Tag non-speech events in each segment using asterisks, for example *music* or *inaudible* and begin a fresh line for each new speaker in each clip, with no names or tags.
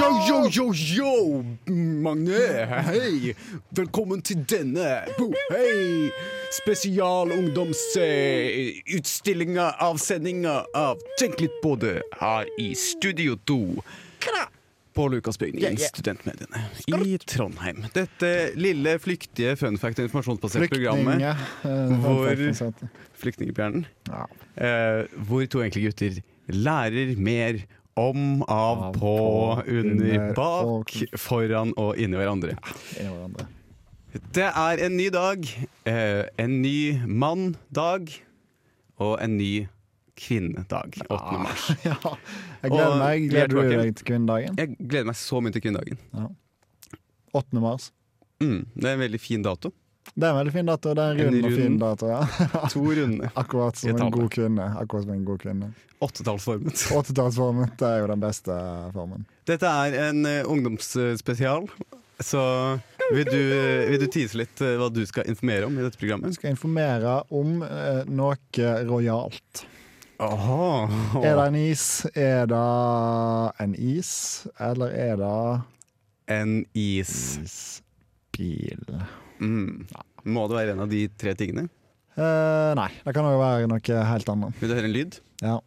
Yo, yo, yo, yo! Magne, hei! Velkommen til denne bo- hei! spesialungdomsutstillinga av sendinga av Tenk litt på det her i Studio 2. På Lukasbygden
Yeah,
i
yeah.
Studentmediene i Trondheim. Dette lille, flyktige fun fact- og informasjonsbaserte
Flyktning,
programmet
ja. Eh,
hvor-
håndverkningssenter.
Flyktningbjørnen,
Ja.
eh, hvor to enkle gutter lærer mer om, av,
Av,
på,
på,
under,
under,
bak,
og-
foran og inni hverandre.
Inni hverandre.
Det er en ny dag, eh, en ny mann-dag og en ny kvinnedag. 8. mars.
Ah, *laughs* Ja. Jeg
Og
gleder meg.
vi er
Gleder du
tilbake.
deg til kvinnedagen?
Jeg gleder meg så mye til kvinnedagen.
8. mars.
Mm, det er en veldig fin
*laughs*
dato.
Det er en veldig fin dato. Det er en
En
rund og fin
rund-
dato. Ja. *laughs*
To runde.
Akkurat som en
Etappe.
god kvinne. Akkurat som en god kvinne.
Åttetallsformet.
80-tallsformen det er jo den beste formen.
Dette er en eh, ungdomsspesial, så vil du, vil du tease litt eh, hva du skal informere om i dette
Jeg
programmet?
skal informere om eh, noe rojalt.
Åh.
Er det en is? Er det en is? Eller er det
En is.
isbil?
Mm. Må det være en av de tre tingene?
Eh, nei, det kan òg være noe helt annet.
Vil du høre en lyd?
Ja.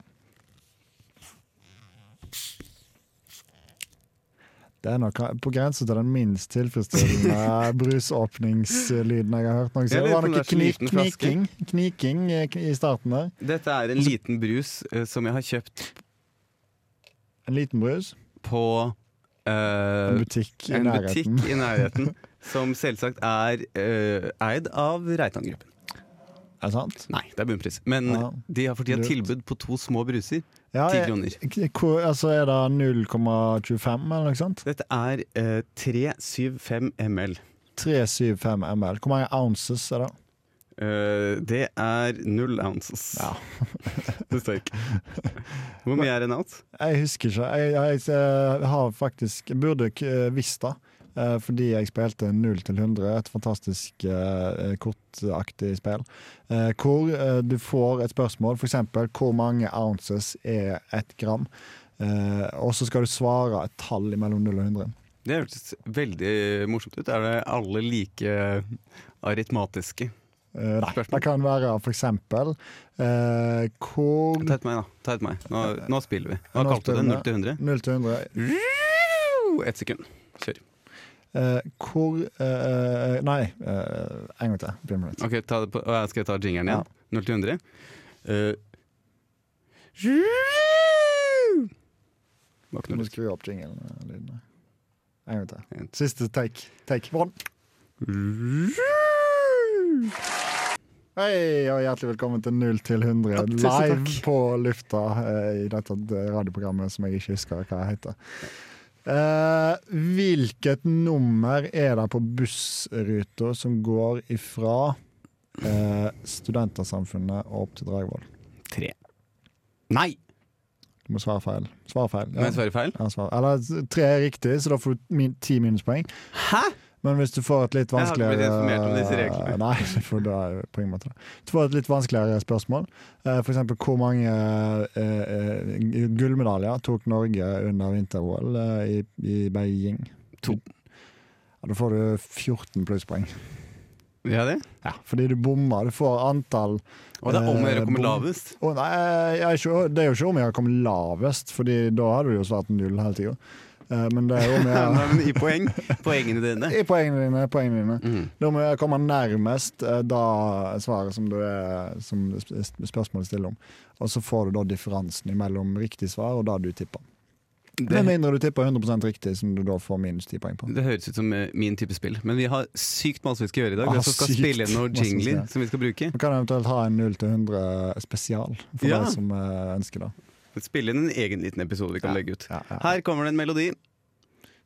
Det er noe på grensen til den minst
*laughs*
tilfredsstillende brusåpningslyden jeg har hørt. Noe.
Jeg
Det var
lurer på om
noe
det er så
kni
liten flaske.
kniking, kniking eh, kn- i starten der.
Dette er
Altså-
en liten brus eh, som jeg har kjøpt
En liten brus.
på eh,
En butikk i
en
nærheten.
butikk i
*laughs*
nærheten. Som selvsagt er eh, eid av Reitan-gruppen.
Er det sant?
Nei, det er bunnpris. Men
Ja,
de har for tida
lurt.
tilbud på to små bruser.
Ja,
Ti
jeg-
kroner.
K- Hvor, altså er det 0,25 eller noe sånt?
Dette er eh, 375 ml.
375 ml. Hvor mange ounces er det?
Eh, det er null ounces.
Ja.
det står ikke. Hvor mye er en ounce?
Jeg husker ikke. Jeg, jeg, jeg har faktisk jeg burde k- visst det. eh, Fordi jeg spilte 0 til 100, et fantastisk eh, kortaktig spill. eh, Hvor eh, du får et spørsmål, f.eks.: Hvor mange ounces er ett gram? Eh, Og så skal du svare et tall mellom 0 og 100.
Det hørtes veldig morsomt ut. Er det alle like aritmatiske?
Eh, Nei,
Spørsmål.
det kan være f.eks. Hvor
Ta et meg, da. Ta et meg. Nå, nå spiller vi. Hva
Nå
kalte du det?
spiller
0 til 100?
0 til 100
Ett sekund. Kjør.
Eh, hvor eh, Nei, eh, en gang til. Bli med litt.
Ok, ta det på, og jeg skal ta jingeren
Ja.
igjen. 0 til 100. Eh, Var ikke
Nå
noe
må
lyd.
skru opp jinglen. eh, lyden. En gang til.
En.
Siste take. Take one. Hei, og hjertelig velkommen til 0 til 100
Ja, tusen
live
takk.
på lufta eh, i dette radioprogrammet som jeg ikke husker hva heter. Eh, hvilket nummer er det på bussruta som går ifra eh, Studentersamfunnet og opp til Dragvoll?
Tre. Nei!
Du må svare feil. Svar feil.
Må jeg svare feil?
Ja, svar. Eller tre er riktig, så da får du min, ti minuspoeng.
Hæ?
Men hvis du får et litt
Jeg har ikke
vanskeligere
blitt informert om disse reglene.
Nei, for da er det på ingen måte det. Du får et litt vanskeligere spørsmål. Eh, For eksempel hvor mange eh, eh, gullmedaljer tok Norge under vinter-OL eh, i, i Beijing?
To.
Ja, da får du 14 plusspoeng.
Vil jeg det?
Ja, fordi du bommer. Du får antall
Og det er om å gjøre å komme
Eh, bom.
lavest.
Å nei, eh, jeg er ikke, Det er jo ikke om jeg har kommet lavest, Fordi da hadde du jo svart null hele tida. Men det er jo om jeg
*laughs* Nei, men I poeng. Poengene dine.
I poengene dine. poengene dine
Mm.
Da må jeg komme nærmest eh, da svaret som, du er, som sp- sp- spørsmålet stiller om. Og så får du da differansen mellom riktig svar og det du tipper.
Det,
Med mindre du tipper 100 riktig, som du da får minus 10 poeng på.
det høres ut som eh, min type spill, men vi har sykt masse vi skal gjøre i dag. Vi
Ah,
også skal
sykt
spille inn noen
masse vi skal
jingler
gjøre.
som vi skal bruke.
Vi kan eventuelt ha en 0 til 100 spesial for
Ja.
deg som eh, ønsker det.
Spille inn en egen liten episode vi kan legge ut.
Ja, ja.
Her kommer det en melodi.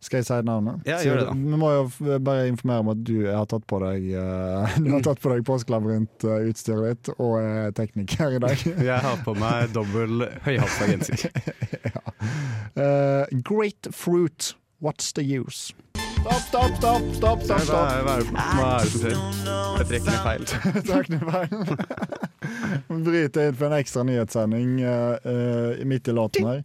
Skal jeg si navnet?
Ja,
Så
gjør det da.
Vi må jo f- bare informere om at du har tatt på deg eh, *laughs* Du har tatt på deg påskelabyrintutstyret ditt og er tekniker i dag.
*laughs* Jeg har på meg dobbel høyhalsa genser.
Eh, great fruit, what's the use? Stopp, stopp, stopp! stopp,
Hva
stopp, stopp.
er hva er det for- hva er det som skjer? Jeg trekker ned feil.
*laughs* Takk, det var
*laughs*
Vi bryter inn for en ekstra nyhetssending eh, eh, midt i låten her.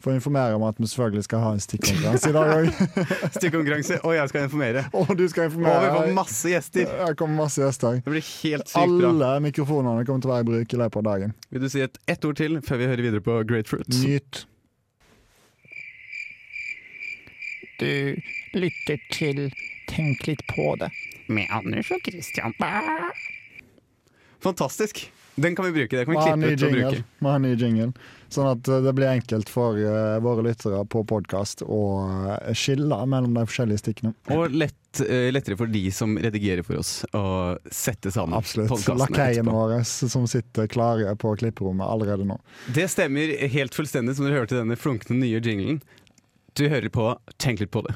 For å informere om at vi selvfølgelig skal ha en stikkonkurranse i dag
*laughs*
òg.
Stikkonkurranse, og jeg skal informere.
Og du skal
Og vi
informere.
får masse gjester.
Det kommer masse gjester.
Det blir helt sykt bra.
Alle mikrofonene kommer til å være i bruk i løpet av dagen.
Vil du si et, ett ord til før vi hører videre på Grapefruit?
Nyt.
Du lytter til Tenk litt på det.
med Anders og Christian.
Fantastisk! Den kan vi bruke. Det kan vi
Vi har en
klippe
ny
ut og
jingle.
bruke.
Vi har en ny jingle. Sånn at eh, det blir enkelt for eh, våre lyttere på podkast å eh, skille mellom de forskjellige stikkene.
Og lett, eh, lettere for de som redigerer for oss, å sette sammen
Absolutt.
podcastene
Lakeiene
etterpå.
våre som sitter klare på klipperommet allerede nå.
Det stemmer helt fullstendig, som dere hørte denne flunkende nye jinglen. Du hører på Tenk litt på det.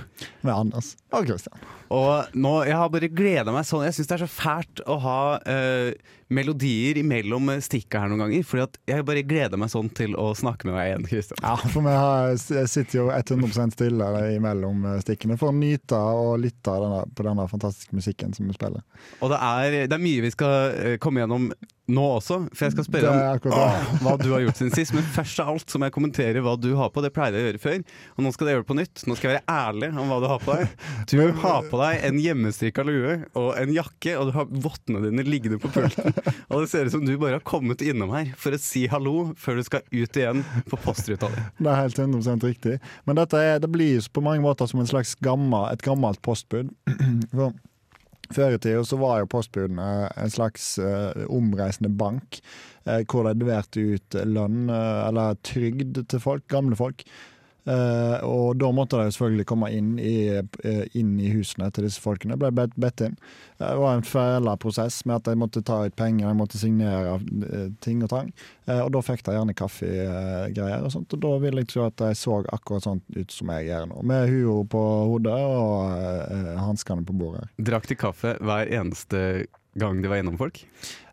Med Anders og Christian.
Og nå, Jeg har bare gleda meg sånn. Jeg syns det er så fælt å ha eh, melodier imellom stikka her noen ganger. Fordi at jeg bare gleder meg sånn til å snakke med deg igjen, Kristian.
Ja, *laughs* for vi har, s- sitter jo 100 stille imellom eh, stikkene for å nyte og lytte av denne, på denne fantastiske musikken som vi spiller.
Og det er, det er mye vi skal eh, komme gjennom nå også, for jeg skal
Det
spørre
er
om
akkurat det.
hva du har gjort siden sist. Men først av alt så må jeg kommentere hva du har på. Det pleide jeg å gjøre før. Og nå skal jeg gjøre det på nytt. Nå skal jeg være ærlig om hva du har på deg. Du har på deg en hjemmestrikka lue og en jakke, og du har vottene dine liggende på pulten. Og det ser ut som du bare har kommet innom her for å si hallo før du skal ut igjen på postruta di.
Det er helt 100 riktig. Men dette er, det blir jo på mange måter som en slags gammel, et gammelt postbud. *clears throat* For før i tida så var jo postbudene en slags eh, omreisende bank, eh, hvor de leverte ut lønn, eh, eller trygd til folk, gamle folk. Eh, og da måtte de jo selvfølgelig komme inn i, eh, inn i husene til disse folkene. Ble bedt, bedt inn. Eh, Det var en fæla prosess med at de måtte ta ut penger, de måtte signere eh, ting og tang. Eh, Og da fikk de gjerne kaffegreier og sånt, og da vil jeg tro at de så akkurat sånn ut som jeg gjør nå. Med hua på hodet og eh, hanskene på bordet.
Drakk de kaffe hver eneste gang de var gjennom folk?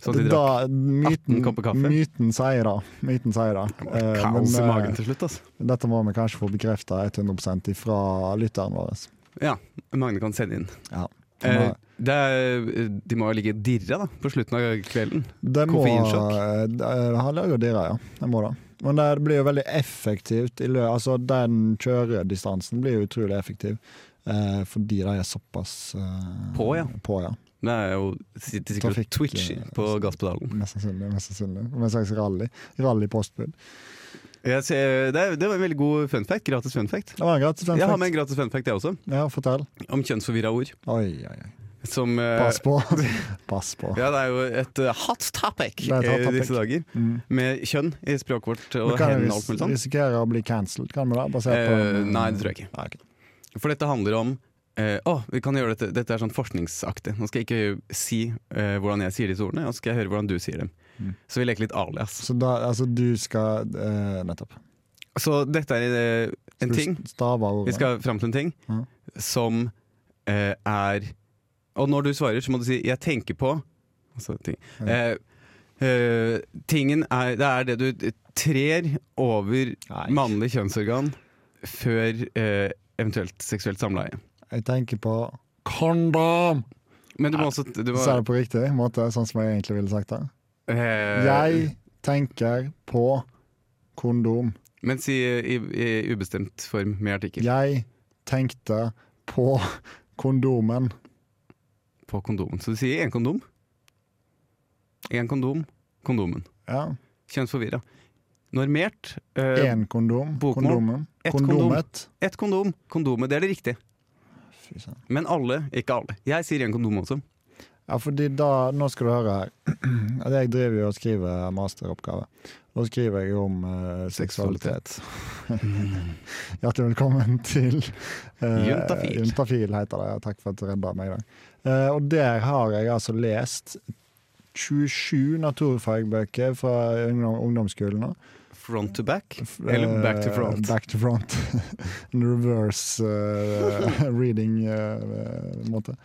Så de drakk
Da, myten,
18 kopper kaffe.
myten sier det. Myten sier det. Eh,
kaos i
men, eh,
magen til slutt, altså.
Dette må vi kanskje få bekrefta 100 fra lytteren vår.
Ja, Magne kan sende inn.
Ja.
Eh, det er, de må jo ligge dirra da, på slutten av kvelden.
Det må eh,
Koffeinsjokk?
Han lager dyra, ja. Det må det. Men det blir jo veldig effektivt. I lø altså, den kjøredistansen blir jo utrolig effektiv. Eh, fordi de er såpass eh,
På, ja.
på, ja.
Det er jo sitter sikkert
Trafikk,
og Twitch
eh,
på gasspedalen.
Mest sannsynlig. Mest sannsynlig. Med en slags rally. Rally-postbud.
Jeg ser, det, er- det var en veldig god fun fact. Gratis fun fact.
Det var en gratis fun
Jeg har med
fact.
en gratis fun fact, jeg også.
Ja, fortell.
Om kjønnsforvirra ord.
Oi, oi, oi.
Som eh,
Pass på. Pass på.
Ja, *laughs* det er jo et eh, hot topic
Det er et hot
i
topic.
disse dager.
Mm.
Med kjønn i språket vårt
Vi
og
kan
hen
jo
og alt mulig
ris-
sånt.
risikere å bli cancelled, kan vi det? Basert på
Eh, nei, det tror jeg ikke.
Nei, ok.
For dette handler om eh, å, vi kan gjøre dette, dette er sånn forskningsaktig. Nå skal jeg ikke si eh, hvordan jeg sier disse ordene, og så skal jeg høre hvordan du sier dem.
Mm.
Så vi leker litt alias.
Så da, altså, du skal eh, Nettopp.
Så dette er eh, en
Du
ting
Staver ordet.
Vi skal fram til en ting
Mhm.
som eh, er Og når du svarer, så må du si 'jeg tenker på' altså, ting.
Ja.
Eh, eh, tingen er Det er det du trer over
Nei.
mannlig kjønnsorgan før eh, eventuelt seksuelt samleie.
Jeg tenker på Kondom!
Men du må også du må,
Sa jeg det på riktig måte, sånn som jeg egentlig ville sagt det?
eh,
Jeg tenker på kondom.
Men si i, i ubestemt form med artikkel.
Jeg tenkte på kondomen.
På kondomen. Så du sier én kondom. Én kondom. Kondomen.
Ja.
Kjønnsforvirra. Normert. eh,
Én kondom.
bokmål.
Kondomen.
Ett kondom.
Kondomet.
Ett kondom. Kondomet, det er det riktige.
Fy søren.
Men alle, ikke alle. Jeg sier en kondom *laughs* også.
Ja, fordi da, nå skal du høre her. *clears throat* At Jeg driver jo og skriver masteroppgave. Da skriver jeg om eh, seksualitet. Hjertelig velkommen til eh,
Juntafil.
Juntafil heter det. Takk for at du redda meg i dag. Eh, og der har jeg altså lest 27 naturfagbøker fra ungdom, ungdomsskolen. nå.
Front to back,
F-
eller back to
eh,
front.
Back to front. *laughs* En reverse eh,
*laughs*
reading eh, måte.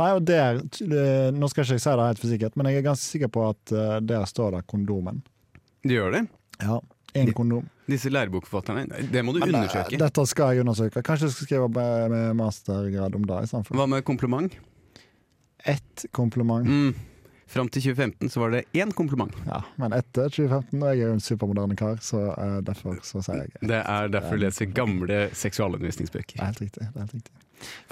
Nei, og der, t- eh, Nå skal ikke jeg si det helt for sikkert, men jeg er ganske sikker på at eh, der står det kondomen.
Du gjør det.
Ja, Én kondom.
Disse lærebokforfatterne. Nei, Det må du
Men, eh,
undersøke.
Dette skal jeg undersøke. Kanskje jeg skal skrive med- med mastergrad om det istedenfor.
Hva med kompliment?
Ett kompliment.
Mm. Fram til 2015 så var det én kompliment.
Ja, men etter 2015, og jeg er jo en supermoderne kar, så eh, derfor så sier jeg
Det er derfor du leser gamle seksualundervisningsbøker.
Det er helt riktig. det er helt riktig.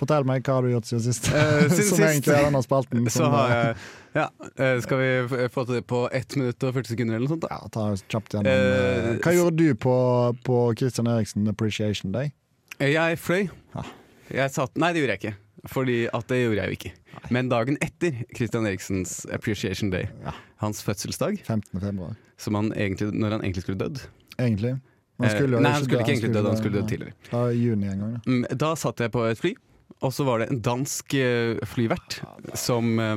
Fortell meg hva har du gjort siden sist,
Eh, siden
*laughs* som
sist-
egentlig er denne spalten.
*laughs* Så
som,
har
eh,
jeg Ja, eh, skal vi f- få til det på 1 minutt og 40 sekunder eller noe sånt? da?
Ja, ta kjapt gjennom.
Eh,
eh, Hva gjorde du på, på Christian Eriksen Appreciation Day?
Jeg fløy.
Ja.
Jeg satt Nei, det gjorde jeg ikke. Fordi at det gjorde jeg jo ikke. Men dagen etter Christian Eriksens Appreciation Day,
Ja.
hans fødselsdag,
15. februar,
som han egentlig, når han egentlig skulle dødd
egentlig. Men
Eh,
jo
Nei, han skulle ikke egentlig dødd, han skulle
dø,
dødd tidligere.
Det var i juni en gang, da.
Mm, Da satt jeg på et fly, og så var det en dansk eh, flyvert som eh,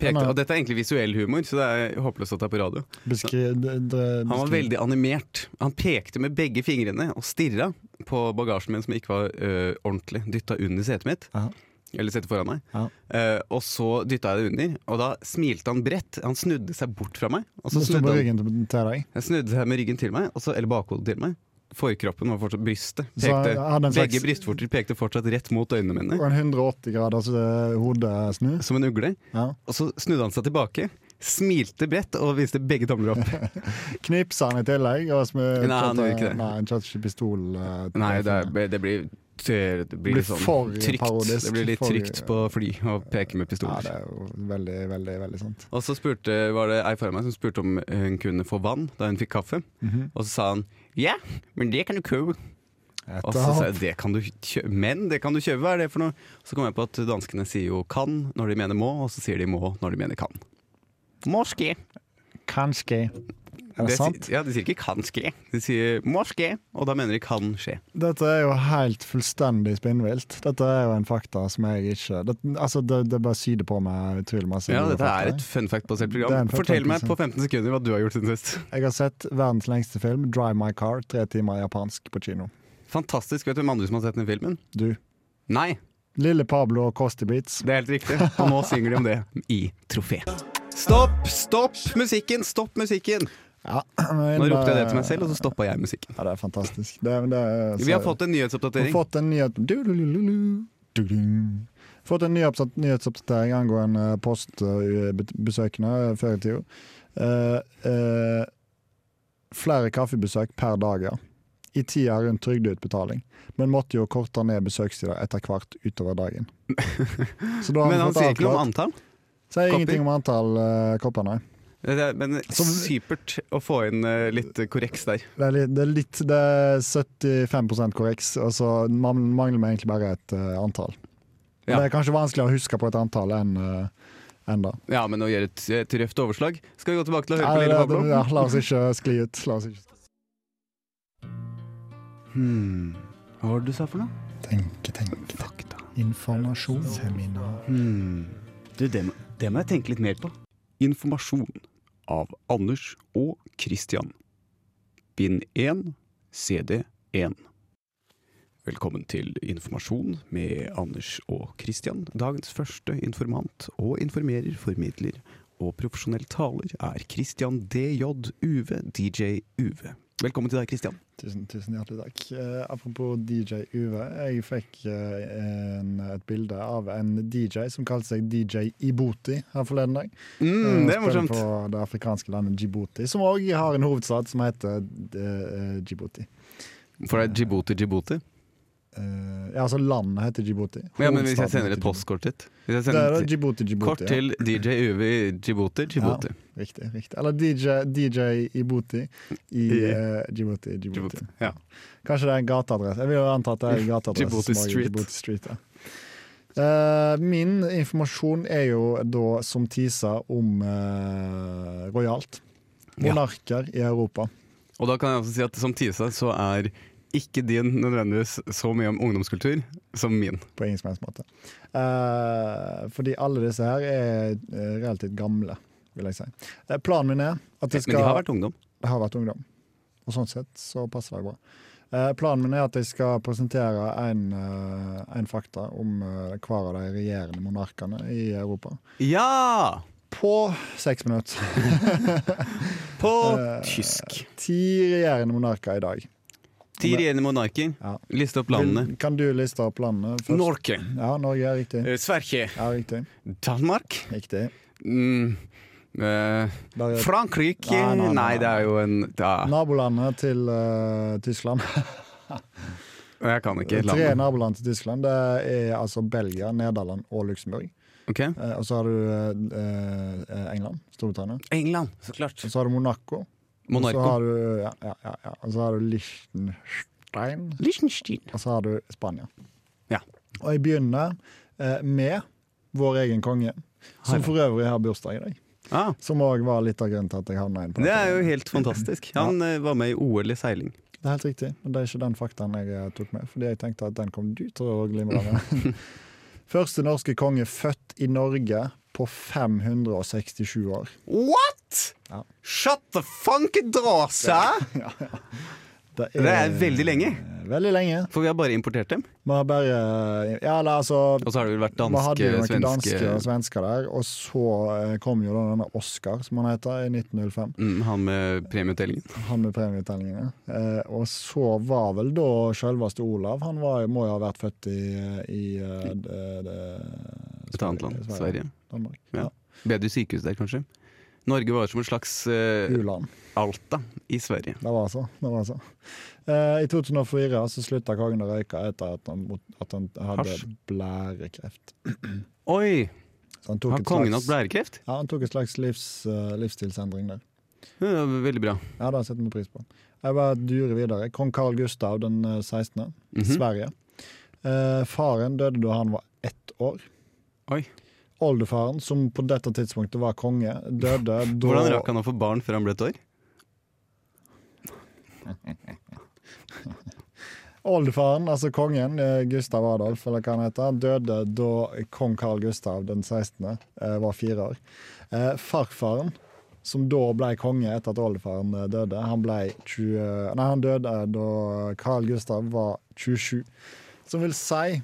pekte
Han er-
Og dette er egentlig visuell humor, så det er håpløst at det er på radio.
Beskri, d- d-
Han var
beskri-
veldig animert. Han pekte med begge fingrene og stirra på bagasjen min som ikke var ø, ordentlig dytta under setet mitt.
Aha.
Eller setet foran meg.
Ja.
Eh, og så dytta jeg det under, og da smilte han bredt. Han snudde seg bort fra meg. Og så
Du sto
snudde
på
han,
ryggen til til deg.
han snudde seg med ryggen til meg, og så, eller bakhodet til meg. Forkroppen var fortsatt brystet.
Så han
Pekte,
hadde en
begge
slags-
brystvorter pekte fortsatt rett mot øynene
Og
mine,
en 180 graders eh, hodesnu.
som en ugle.
Ja.
Og så snudde han seg tilbake, smilte bredt og viste begge tomler
*laughs*
opp.
Knipsa han i tillegg? Og smu,
Nei, han gjorde ikke det.
Nei, han kjørte ikke pistol. eh, til
Nei, det,
fingrene.
er, det blir, det blir,
Blir
litt sånn
for
trygt.
parodisk,
Det blir litt
for-
trygt på fly å peke med
Ja,
pistoler.
det er jo veldig, veldig veldig sant.
og så spurte, var det ei foran meg som spurte om hun kunne få vann da hun fikk kaffe.
Mhm.
Og så sa han ja, men det kan du køpe. Og så sa jeg det kan du kjøpe, men det kan du kjøpe, hva er det for noe? Så kom jeg på at danskene sier jo kan når de mener må, og så sier de må når de mener kan.
Måske.
Kanskje. Er det
si-
sant?
Ja, de sier ikke kan skje, de sier må skje, og da mener de kan skje.
Dette er jo helt fullstendig spinnvilt. Dette er jo en fakta som jeg ikke det, Altså, det, det bare syder på meg utrolig masse.
Ja,
gode
dette er
fakta.
et fun fact-basert
Det er
program.
en fun
Fortell
fact,
meg
liksom.
på 15 sekunder hva du har gjort siden sist.
Jeg har sett verdens lengste film, 'Drive My Car', tre timer japansk på kino.
Fantastisk. Vet du hvem andre som har sett den filmen?
Du.
Nei,
Lille Pablo og Costi Beats.
det er helt riktig. Og nå synger de om det i trofé. Stopp! Stopp musikken! Stopp musikken!
Ja, *clears throat*
Nå ropte jeg
eh,
det til meg selv, og så stoppa jeg musikken.
Ja, det er fantastisk. Det, er- det er,
Vi har
så-
fått en
altså, Vi har
nyhetsoppdatering.
fått en nyhet Du-du-du-du-du. Du-ding. Fått en nyhetsoppdat- nyhetsoppdatering angående postbesøkende før i tida. Eh, eh, flere kaffebesøk per dag, ja. I tida rundt trygdeutbetaling. Men måtte jo korte ned besøkstida etter hvert
*laughs*
utover dagen. Så da har
Men
vi
han
fått
sier ikke noe om
avklart-
antall.
Sier
kopper.
ingenting om antall eh, kopper, nei.
Det er- Men supert å få inn eh, litt korreks der.
Det er, litt, det er, litt, det er 75 korreks, og så man- mangler vi egentlig bare et eh, antall.
Ja.
Det er kanskje vanskeligere å huske på et antall enn eh, enn det.
Ja, men å gjøre et, et røft overslag Skal vi gå tilbake til å høre
Ja,
på Lille
det-
Pablo?
det- ja, la oss ikke skli ut. La oss ikke.
Hmm. Hva var det du sa for noe?
Tenke, tenke.
Fakta.
Informasjon. Seminar.
Hmm. Du, det, må- det må jeg tenke litt mer på. Informasjon av Anders og Christian. Bind 1, CD 1. Velkommen til Informasjon med Anders og Christian. Dagens første informant og informerer, formidler og profesjonell taler er Christian DJ Uve, DJ Uve. Velkommen til deg, Christian.
Tusen, tusen hjertelig takk. Eh, apropos DJ Uve. Jeg fikk eh, en, et bilde av en DJ som kalte seg DJ Iboti her forleden dag.
Mm, det er
Eh, spiller
morsomt.
På det afrikanske landet Djibouti, som òg har en hovedstad som heter eh, Djibouti.
For det er Djibouti, Djibouti.
Eh, ja, altså landet heter Djibouti.
Ja, men hvis
Hovedstaden
jeg sender et
heter Djibouti.
postkort dit Hvis jeg
Det er
sender
da
et
Djibouti, Djibouti.
Kort til DJ Uwe i Djibouti. Djibouti.
Ja, riktig. riktig. Eller DJ, DJ Iboti i
I-
eh, Djibouti, Djibouti.
Djibouti, ja.
Kanskje det er en gateadresse. Jeg vil jo anta at det er en
*laughs*
gateadresse.
Djibouti
som også er
Street.
Djibouti Street ja. Eh, min informasjon er jo da som tisa om uh, rojalt.
Ja.
Monarker i Europa.
Og da kan jeg også si at som Tisa så er ikke din nødvendigvis så mye om ungdomskultur som min.
på ingen som helst måte. Eh, fordi alle disse her er eh, relativt gamle, vil jeg si. Eh, planen min er at det
Men
skal
de har vært ungdom.
det har vært ungdom. Og sånn sett så passer det bra. Eh, planen min er at jeg skal presentere en, eh, en fakta om eh, hver av de regjerende monarkene i Europa.
Ja!
På seks minutter. *laughs*
På
Eh,
tysk.
Ti regjerende monarker i dag.
Ti regjerende monarker.
Ja.
Liste opp landene.
Vil- Kan du liste opp landene først?
Norge.
Ja, Norge er riktig.
eh, Sverige.
Ja, riktig.
Danmark.
Riktig.
mm, eh,
Bare
Frankrike
Nei, nei, nei.
Nei, det er jo en ja,
nabolandet til eh, Tyskland. *laughs*
Jeg kan ikke
Tre
landet.
naboland til Tyskland. Det er altså Belgia, Nederland og Luxembourg.
Ok.
Eh, og så har du eh, eh, England, Storbritannia.
England, så klart.
Og så har du Monaco. Og så
Monaco.
har du, ja, ja, ja, ja. Og så har du Liechtenstein.
Liechtenstein.
Og så har du Spania.
Ja.
Og jeg begynner eh, med vår egen konge, som for øvrig har bursdag i dag.
Ah,
Som òg var litt av grunnen til at jeg havna inn på
det
dette.
er jo helt fantastisk. Han eh, var med i OL i seiling.
Det er helt riktig. Men det er ikke den faktaen jeg eh, tok med, fordi jeg tenkte at den kom du til å glimre med.
*laughs*
Første norske konge født i Norge på 567 år.
What?!
Ja.
Shut the funky dråsa! Det er veldig lenge.
Eh, Veldig lenge.
For vi har bare importert dem.
Vi har bare Ja, eller altså
Og så har det vel vært
Vi hadde
danske,
jo noen dansker og
svenske
svensker der, og så eh, kom jo da denne Oscar, som han heter, i 1905.
mm, Han med premieutdelingen.
Han med premieutdelingene. Eh, og så var vel da selveste Olav Han var, må jo ha vært født i, i eh, det- det-
Et annet land. Sverige.
Danmark.
Ja.
Ja.
Bedre sykehus der, kanskje. Norge var som et slags eh,
U-land.
Alta i Sverige.
Det var så. Det var så. Eh, I 2004 så slutta kongen å røyke etter at han, mot- at han hadde
Hasj.
blærekreft.
Oi!
Så han tok,
Har
et
kongen hatt
slags,
blærekreft?
ja, han tok et slags livs, eh, livsstilsendring der.
Det var Veldig bra.
Ja, det setter vi pris på. Jeg bare durer videre. Kong Carl Gustav den eh, 16.,
Mhm.
Sverige. Eh, faren døde da han var ett år.
Oi.
Oldefaren, som på dette tidspunktet var konge, døde
Hvordan
da
rakk han å få barn før han ble et år?
Oldefaren, altså kongen, eh, Gustav Adolf, eller hva han heter, døde da kong Carl Gustav den 16. eh, var fire år. Eh, Farfaren, som da ble konge etter at oldefaren eh, døde, han, ble 20, nei, han døde da Carl Gustav var 27. Som vil si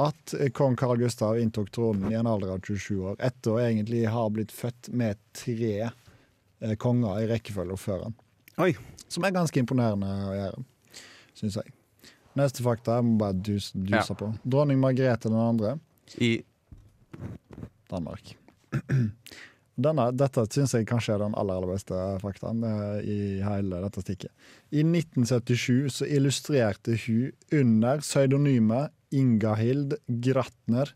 at eh, kong Carl Gustav inntok tronen i en alder av 27 år, etter å egentlig ha blitt født med tre eh, konger i rekkefølge før han.
Oi.
Som er ganske imponerende å gjøre, syns jeg. Neste fakta jeg må bare dus, duse
Ja.
på. Dronning Margrethe den andre,
I
Danmark. *clears throat* Denne, dette syns jeg kanskje er den aller, aller beste faktaen eh, i hele dette stikket. I 1977 så illustrerte hun under pseudonymet Ingahild Gratner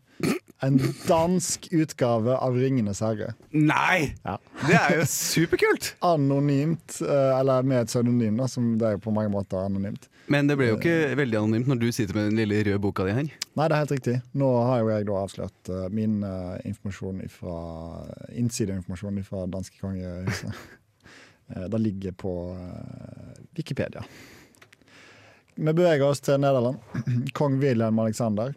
en dansk utgave av Ringenes herre.
Nei!
Ja.
Det er jo superkult!
Anonymt, eh, eller med et pseudonym, da, som det er på mange måter anonymt.
Men det ble jo ikke veldig anonymt når du sitter med den lille røde boka di her.
Nei, det er helt riktig. Nå har jo jeg da avslørt eh, min eh, informasjon fra innsideinformasjon fra danske kongehuset. *laughs* Eh, det ligger på eh, Wikipedia. Vi beveger oss til Nederland. *clears throat* Kong Wilhelm Alexander.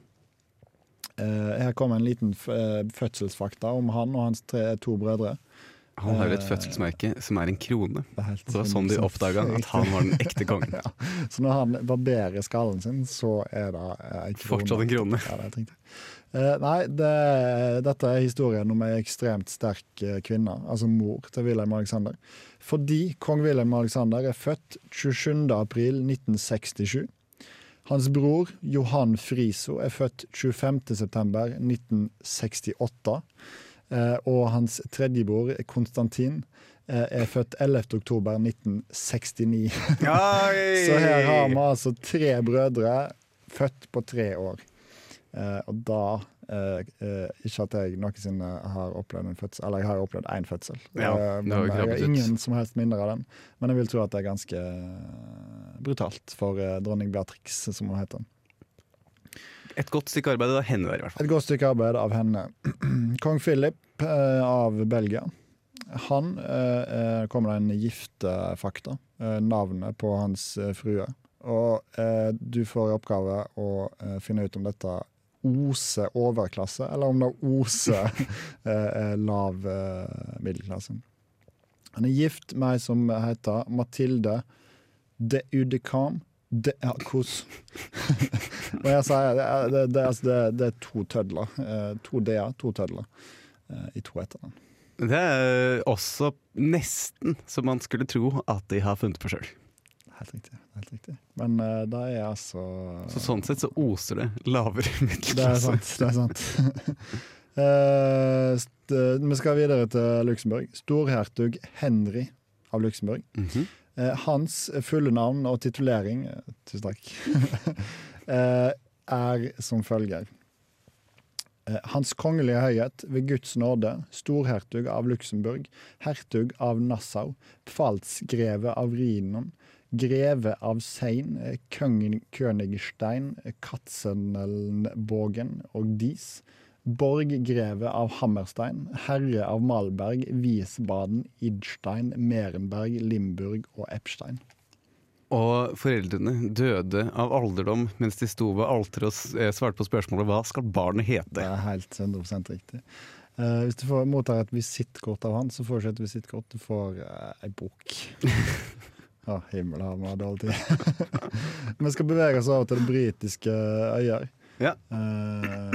Eh, her kommer en liten f eh, fødselsfakta om han og hans tre, to brødre.
Han har jo et fødselsmerke som er en krone.
Det er helt
Så det var sånn de
100%
oppdaga at han var den ekte
*laughs*
kongen.
Så når han barberer skallen sin, så er det eh, ei krone.
Fortsatt en krone.
Ja, det er tenkt. Eh, nei, det, dette er historien om ei ekstremt sterk eh, kvinne, altså mor til Wilhelm Alexander. Fordi kong Wilhelm Alexander er født 27.4.1967. Hans bror Johan Friso er født 25.9.1968. Eh, og hans tredjebror Konstantin eh, er født 11.10.1969. Så her har vi altså tre brødre født på tre år. Eh, og da eh, eh, Ikke at jeg noensinne har opplevd en fødsel, eller jeg har jo opplevd én fødsel.
Ja,
Eh,
det har jo
men jeg
krabbet
har
ut.
ingen som helst mindre av den. Men jeg vil tro at det er ganske eh, brutalt for eh, dronning Beatrix, som hun heter.
Et godt stykke arbeid av henne der, i hvert fall.
Et godt stykke arbeid av henne. *clears throat* Kong Philip eh, av Belgia. Han eh, eh, kommer det en giftefakta. Eh, navnet på hans eh, frue. Og eh, du får i oppgave å eh, finne ut om dette oser overklasse, eller om det oser
*laughs*
eh, eh, lav eh, middelklasse. Han er gift med ei som heter Mathilde de Udecam de ja, Kos. Og jeg sier, det, er- det, det, er- altså, det, det er to tødler. Eh, to d-er, to tødler eh, i to etternavn.
Det er eh, også nesten som man skulle tro at de har funnet på sjøl.
Helt riktig. helt riktig. Men eh, det er altså
Så sånn sett så oser det lavere
Det er
middelklasse.
sant. *laughs* det er sant. Eh, Eh, st vi skal videre til Luxembourg. Storhertug Henry av Luxembourg.
Mhm.
Eh, hans fulle navn og titulering eh, Tusen takk. *laughs* eh, er som følger. Eh, Hans kongelige høyhet ved Guds nåde, storhertug av Luxembourg, hertug av Nassau, pfalzgreve av Rhinon, greve av Sein, eh, kongen Königstein, eh, Katzenelnbogen og Dies, borggreve av Hammerstein, herre av Malberg, Wiesbaden, Idstein, Merenberg, Limburg og Epstein.
Og foreldrene døde av alderdom mens de sto ved alteret og s- eh, svarte på spørsmålet hva skal barnet
Det
hete.
er helt 100 riktig. Eh, hvis du får, mottar et visittkort av han, så får du ikke et visittkort, du får uh, ei bok. Å, himmel har vi dårlig tid. *laughs* Vi skal bevege oss over til det britiske øyer.
Ja.
Eh,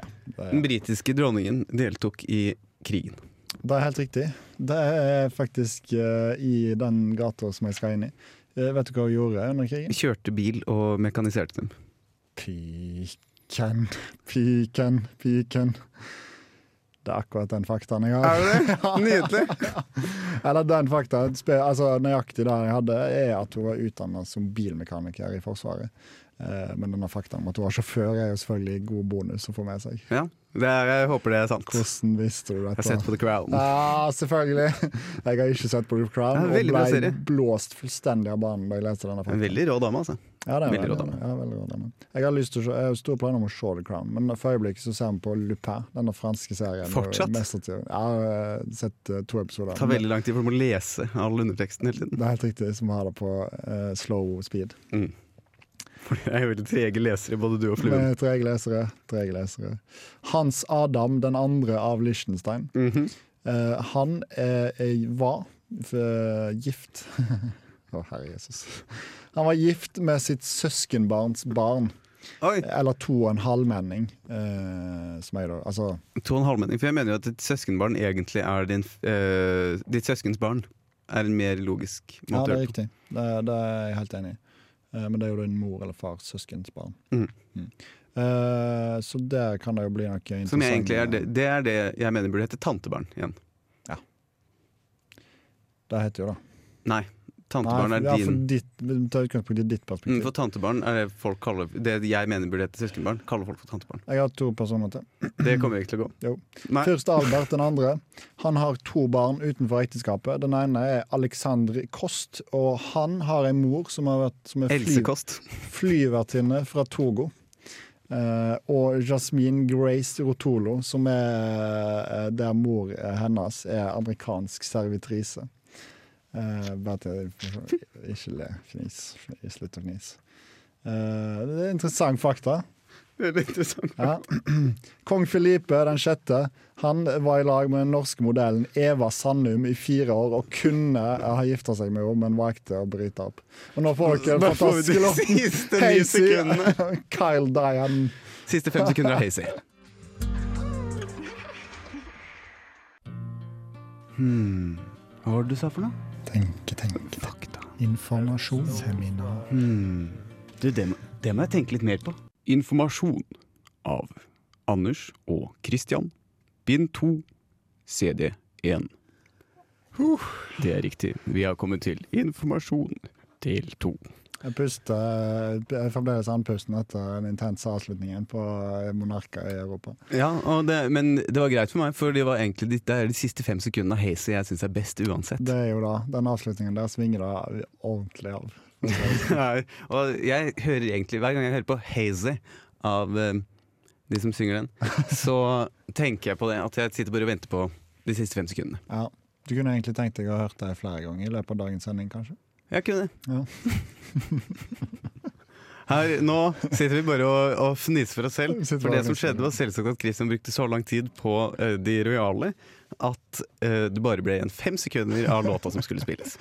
ja, det er
Den britiske dronningen deltok i krigen.
Det er helt riktig. Det er faktisk eh, i den gata som jeg skal inn i. Eh, vet du hva hun gjorde under krigen?
Kjørte bil og mekaniserte dem.
Piken, piken, piken. Det er akkurat den faktaen jeg har. *laughs*
det nydelig?
Eller den faktaen, spe- altså nøyaktig den jeg hadde, er at hun var utdanna som bilmekaniker i Forsvaret. Eh, Men denne faktaen om at hun var sjåfør, er jo selvfølgelig god bonus å få med seg.
Ja, det er, jeg håper det er sant. Jeg
Hvordan visste du
har
dette?
sett på The Crown.
Ja, selvfølgelig. Jeg har ikke sett på The Crown
Det er
og
en veldig bra
ble
serie.
blåst fullstendig av banen da jeg leste denne.
En
faktaen.
veldig rå dame, altså.
Ja, det er
veldig rå dame.
Ja, veldig rå dame. Jeg har lyst til å se, jeg har store planer om å se The Crown, men for øyeblikket så ser vi på Lupin, denne franske serien.
Fortsatt?
Mest sannsynlig. Jeg har sett eh, to episoder.
Tar veldig lang tid, for du må lese all underteksten hele tiden.
Det er helt riktig, som har det på eh, slow speed.
For jeg er jo veldig trege lesere, både du og fluen.
Med trege lesere, trege lesere. Hans Adam den andre av Liechtenstein.
Mhm.
Eh, han eh, eh, var eh, gift *laughs* Å, herre Jesus. Han var gift med sitt søskenbarns barn,
Oi,
eller to og en halvmenning, eh, som jeg da Altså,
to og en halvmenning. For jeg mener jo at ditt søskenbarn egentlig er din eh, Ditt søskens barn er en mer logisk
ja,
måte å
det
gjøre
er
det på.
riktig. Det, det er jeg helt enig i. Eh, men det er jo din mor eller fars søskens barn.
Mhm.
Mm. Eh, så der kan det jo bli noe interessant.
Som jeg egentlig er det, det er det jeg mener burde hete tantebarn igjen.
Det heter jo det.
Nei, tantebarn
Nei,
er
ja, for
din.
ditt, vi tar utgangspunkt i ditt
Mm,
perspektiv.
For tantebarn er det folk kaller Det jeg mener burde hete søskenbarn, kaller folk for tantebarn.
Jeg har to personer til.
Det kommer ikke til å gå.
Jo.
Nei.
Først Albert den andre. Han har to barn utenfor ekteskapet. Den ene er Alexander Kost, og han har en mor som, har vært, som er
Else
fly,
Kåss.
flyvertinne fra Togo. Eh, og Jasmine Grace Rotolo, som er eh, der mor eh, hennes er amerikansk servitrise. Eh, bare til Ikke le. Fnis. Slutt å fnise. Eh, det er interessant fakta.
*laughs* Veldig interessant.
Ja. *clears throat* Kong Filipe den sjette han var i lag med den norske modellen Eva Sandum i fire år og kunne ha gifta seg med henne, men valgte å bryte opp. Og nå får dere den
Da får vi *laughs* de
fantastiske låten
siste ni sekundene.
Hazy, *laughs* Kyle Diane.
Siste fem sekunder av Hazy. Hmm. Hva var det du sa for noe?
Tenke, tenke.
Fakta.
Informasjon. Seminar.
Hmm. Du, det, må, det må jeg tenke litt mer på. Informasjon av Anders og Christian. Bind 2, CD 1. Det er riktig. Vi har kommet til informasjon del 2.
Jeg puster jeg er fremdeles andpusten etter den intense avslutningen på monarker i Europa.
Ja, og det, men det var greit for meg, for det var egentlig de, det er de siste fem sekundene av Hazy jeg syns er best uansett.
Det er jo da, Den avslutningen der svinger det ordentlig av.
Nei, og jeg hører egentlig Hver gang jeg hører på Hazy av eh, de som
*laughs*
synger den, så tenker jeg på det at jeg sitter bare og venter på de siste fem sekundene.
Ja. Du kunne egentlig tenkt deg å ha hørt det flere ganger i løpet av dagens sending, kanskje?
Jeg kunne det.
Ja.
*laughs* Her, nå sitter vi bare og, og fniser for oss selv.
Vi sitter
For
bare
det
og
som
fniser.
skjedde, var selvsagt at Christian brukte så lang tid på eh, de rojale at eh, det bare ble igjen fem sekunder av låta som skulle spilles.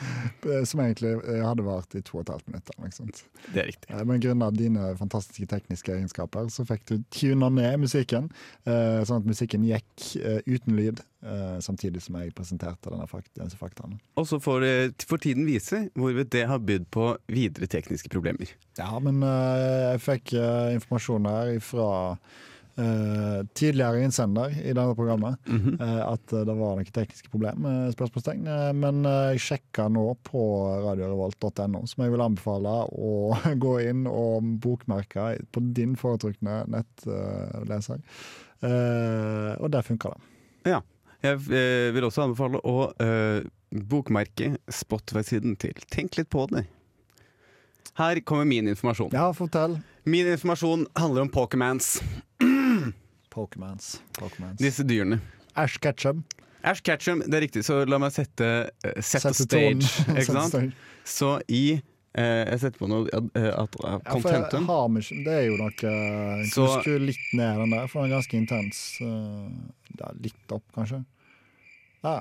Eh, Som egentlig eh, hadde vart i to og et halvt minutter. Ikke sant?
Det er riktig.
Eh, Men grunnet dine fantastiske tekniske egenskaper så fikk du tuna ned musikken, eh, sånn at musikken gikk eh, uten lyd, eh, samtidig som jeg presenterte denne fakt disse faktaene.
Og så får, eh, får tiden vise hvorvidt det har bydd på videre tekniske problemer.
Ja, men eh, jeg fikk eh, informasjon her fra eh, tidligere innsender i denne programmet
Mhm.
eh, at eh, det var noen tekniske problem, eh, spørsmålstegn. Eh, men eh, jeg sjekka nå på radiorevolt.no, som jeg vil anbefale å *laughs* gå inn og bokmerke på din foretrukne nettleser. Eh, og der funka det.
Ja. Jeg eh, vil også anbefale å eh, bokmerke Spotify-siden til Tenk litt på det. Her kommer min informasjon.
Ja, fortell.
Min informasjon handler om Pokémans.
Pokémans. Pokémans.
Disse dyrene.
Ash Ketchum.
Ash Ketchum, det er riktig, så la meg sette uh, set the
Sette
stage.
*laughs* tonen.
Ikke
Sette
sant?
stage.
Så i eh, Jeg setter på noe eh, at, at
Ja, for jeg
contentum
har meg ikke Det er jo noe eh,
Så-
Så skru litt ned den der, for den er ganske intens. eh, Ja, litt opp, kanskje. Ja.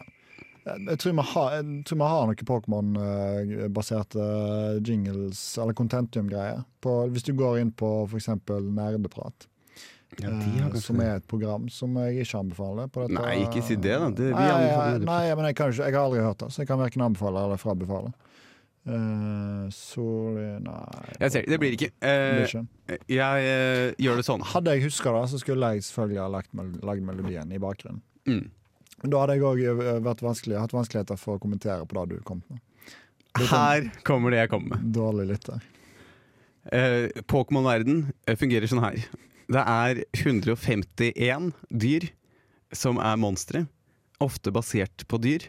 Jeg jeg tror vi har, jeg tror vi har noe Pokémon-baserte eh, jingles eller contentium-greier. på- Hvis du går inn på f.eks. Nerdeprat,
ja, de har
eh, som
kanskje
er et program som jeg ikke anbefaler. På dette.
Nei, ikke si det, da. Det- vi
nei,
anbefaler
nei, nei, men jeg, kan ikke, jeg har aldri hørt det, så jeg kan verken anbefale eller frabefale. Eh, så det- Nei.
Jeg ser det. Det blir ikke.
Det
Eh,
blir ikke.
jeg eh, gjør det sånn.
Hadde jeg huska det, så skulle jeg selvfølgelig ha lagt, mel- lagd melodien i bakgrunnen.
Mm.
Da hadde jeg òg vært vanskelig, hatt vanskeligheter for å kommentere på det du kom med. sånn.
Her kommer det jeg kommer med.
Dårlig lytter.
Eh, Pokémon-verden eh, fungerer sånn her. Det er 151 dyr som er monstre, ofte basert på dyr.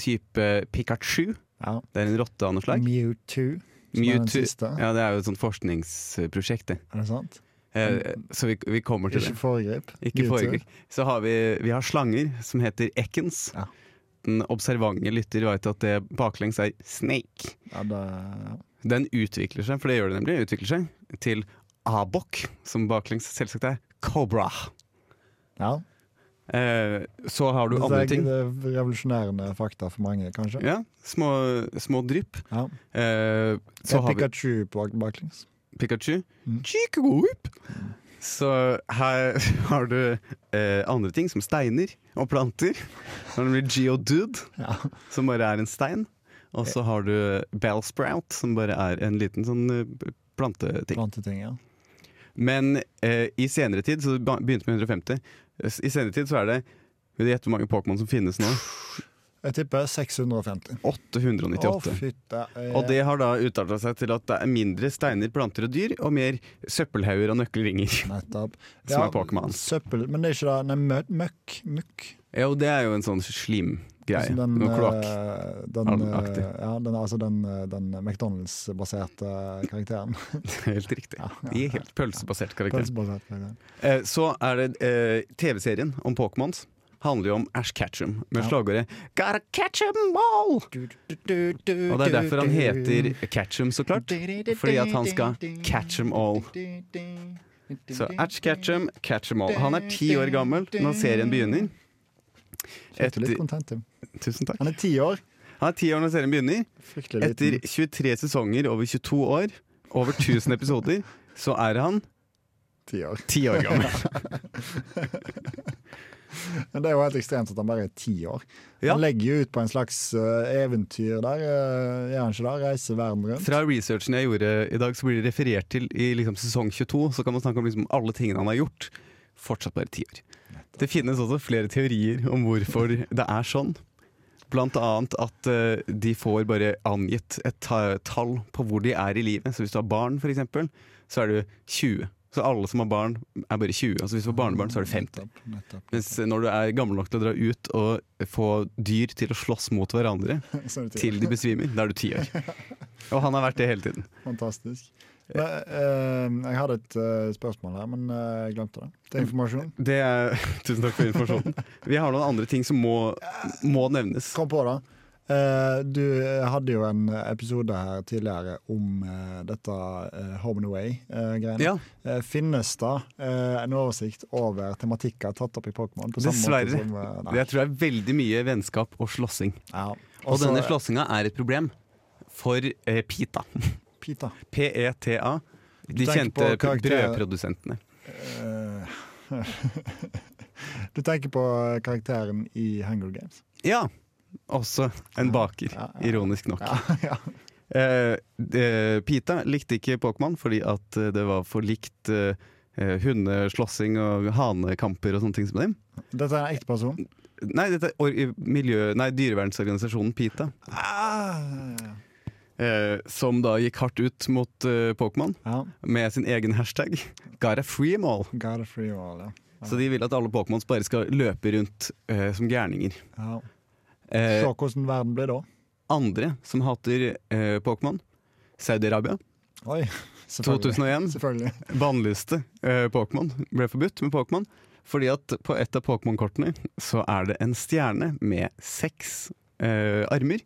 Type Pikachu,
Ja.
det er en rotte av noe slag.
Mewtwo, som er den
Mewtwo,
siste.
ja, det er jo et sånt forskningsprosjekt, det.
Er det sant?
Eh, så vi, vi kommer til det.
Ikke foregrip.
Ikke
Mewtwo.
foregrip. Så har vi, vi har slanger som heter Ekkens.
Ja.
Den observante lytter vet at det baklengs er snake.
Ja, det, ja.
Den utvikler seg, for det gjør det nemlig, utvikler seg til abok, som baklengs selvsagt er cobra.
ja.
Eh, så har du
Dette
andre
er-
ting.
Det er revolusjonerende fakta for mange, kanskje.
Ja, små, små drypp.
Ja.
Eh,
Så
så har vi
Pikachu på baklengs.
Pikachu.
Mm.
Chiku-whip. Så her *laughs* har du eh, andre ting, som steiner og planter. Så har du Geodude.
Ja.
som bare er en stein. Og så har du bellsprout, som bare er en liten sånn eh, planteting.
Planteting, ja.
Men eh, i senere tid, så det ba- begynte med 150, s- i senere tid så er det Vil du gjette hvor mange Pokémon som finnes nå?
Jeg tipper 650. Å,
898.
fytte. eh,
og det har da utarta seg til at det er mindre steiner, planter og dyr, og mer søppelhauger og nøkkelringer. *laughs*
Nettopp.
Som er Pokémons.
Søppel, men det er ikke det. Nei, mø- møkk. Møkk.
Jo, det er jo en sånn slimgreie.
Altså den,
Noe kloakk. *laughs*
eh, Den,
Allaktig.
eh, ja, den, altså den, eh, den McDonald's-baserte eh,
*laughs*
karakteren.
Helt riktig.
Ja, ja,
I helt pølsebasert karakter.
Pølsebasert karakteren.
Eh, Så er det eh, TV-serien om Pokémons. Handler jo om Ash Catchum med
Ja.
slagordet 'Gotta catch 'em all'! Og det er derfor han heter Catchum, så klart. Fordi at han skal catch 'em all. Så Ash Catchum, catch 'em all. Han er ti år gammel når serien begynner.
Kjente litt
Etter-
content, Tim.
Tusen takk.
Han er ti år.
Han er ti år når serien begynner.
Fryktelig
Etter
liten.
23 sesonger over 22 år, over 1000 episoder, så er han
Ti år.
ti år gammel.
Men det er jo helt ekstremt at han bare er ti år.
Ja.
Han legger jo ut på en slags eh, eventyr der, eh, gjør han ikke det? Reiser verden rundt.
Fra researchen jeg gjorde i dag, så blir det referert til i liksom sesong 22. Så kan man snakke om liksom alle tingene han har gjort. Fortsatt bare ti år. Det finnes også flere teorier om hvorfor det er sånn. Blant annet at eh, de får bare angitt et ta tall på hvor de er i livet. Så hvis du har barn, for eksempel, så er du 20. Så alle som har barn, er bare 20. Altså hvis du får barnebarn, så er du 50.
Nettopp, nettopp.
Mens når du er gammel nok til å dra ut og få dyr til å slåss mot hverandre,
*laughs* Så er det ti år.
til de besvimer, da er du ti år. Og han har vært det hele tiden.
Fantastisk. Men, eh, jeg hadde et eh, spørsmål her, men eh, jeg glemte det. Det er informasjon.
Det er, *laughs* tusen takk for informasjonen. Vi har noen andre ting som må, må nevnes.
Kom på det. Eh, du hadde jo en episode her tidligere om eh, dette eh, Home and Away-greiene.
Ja,
finnes det eh, en oversikt over tematikker tatt opp i Pokémon? på samme måte
Dessverre.
Som, eh, nei.
Jeg tror det er veldig mye vennskap og slåssing.
ja.
Og
Også, eh,
denne slåssinga er et problem for eh, PETA. *laughs*
Pita.
PETA. De
tenker
kjente
på karakterer-
brødprodusentene.
Eh, *laughs* du tenker på karakteren i Hunger Games?
Ja, også en baker,
Ja, ja.
ironisk nok.
Ja, *laughs* ja.
Eh, det- Pita likte ikke Pokémon fordi at eh, det var for likt eh, eh, hundeslåssing og hanekamper og sånne ting som dem.
Dette er en ekte person.
Nei, dette er or miljø, nei, dyrevernsorganisasjonen PETA, Ah. eh, som da gikk hardt ut mot eh, Pokémon
Ja.
med sin egen hashtag. Gotta free 'em all.
Got a free wall, ja.
Så de vil at alle Pokémons bare skal løpe rundt eh, som gærninger.
ja.
Eh,
Se hvordan verden blir da.
andre som hater eh, Pokémon, Saudi-Arabia.
Oi, *laughs* selvfølgelig.
2001.
Selvfølgelig.
Bannlyste eh, Pokémon. Ble forbudt med Pokémon. Fordi at på et av Pokémon-kortene så er det en stjerne med seks eh, armer.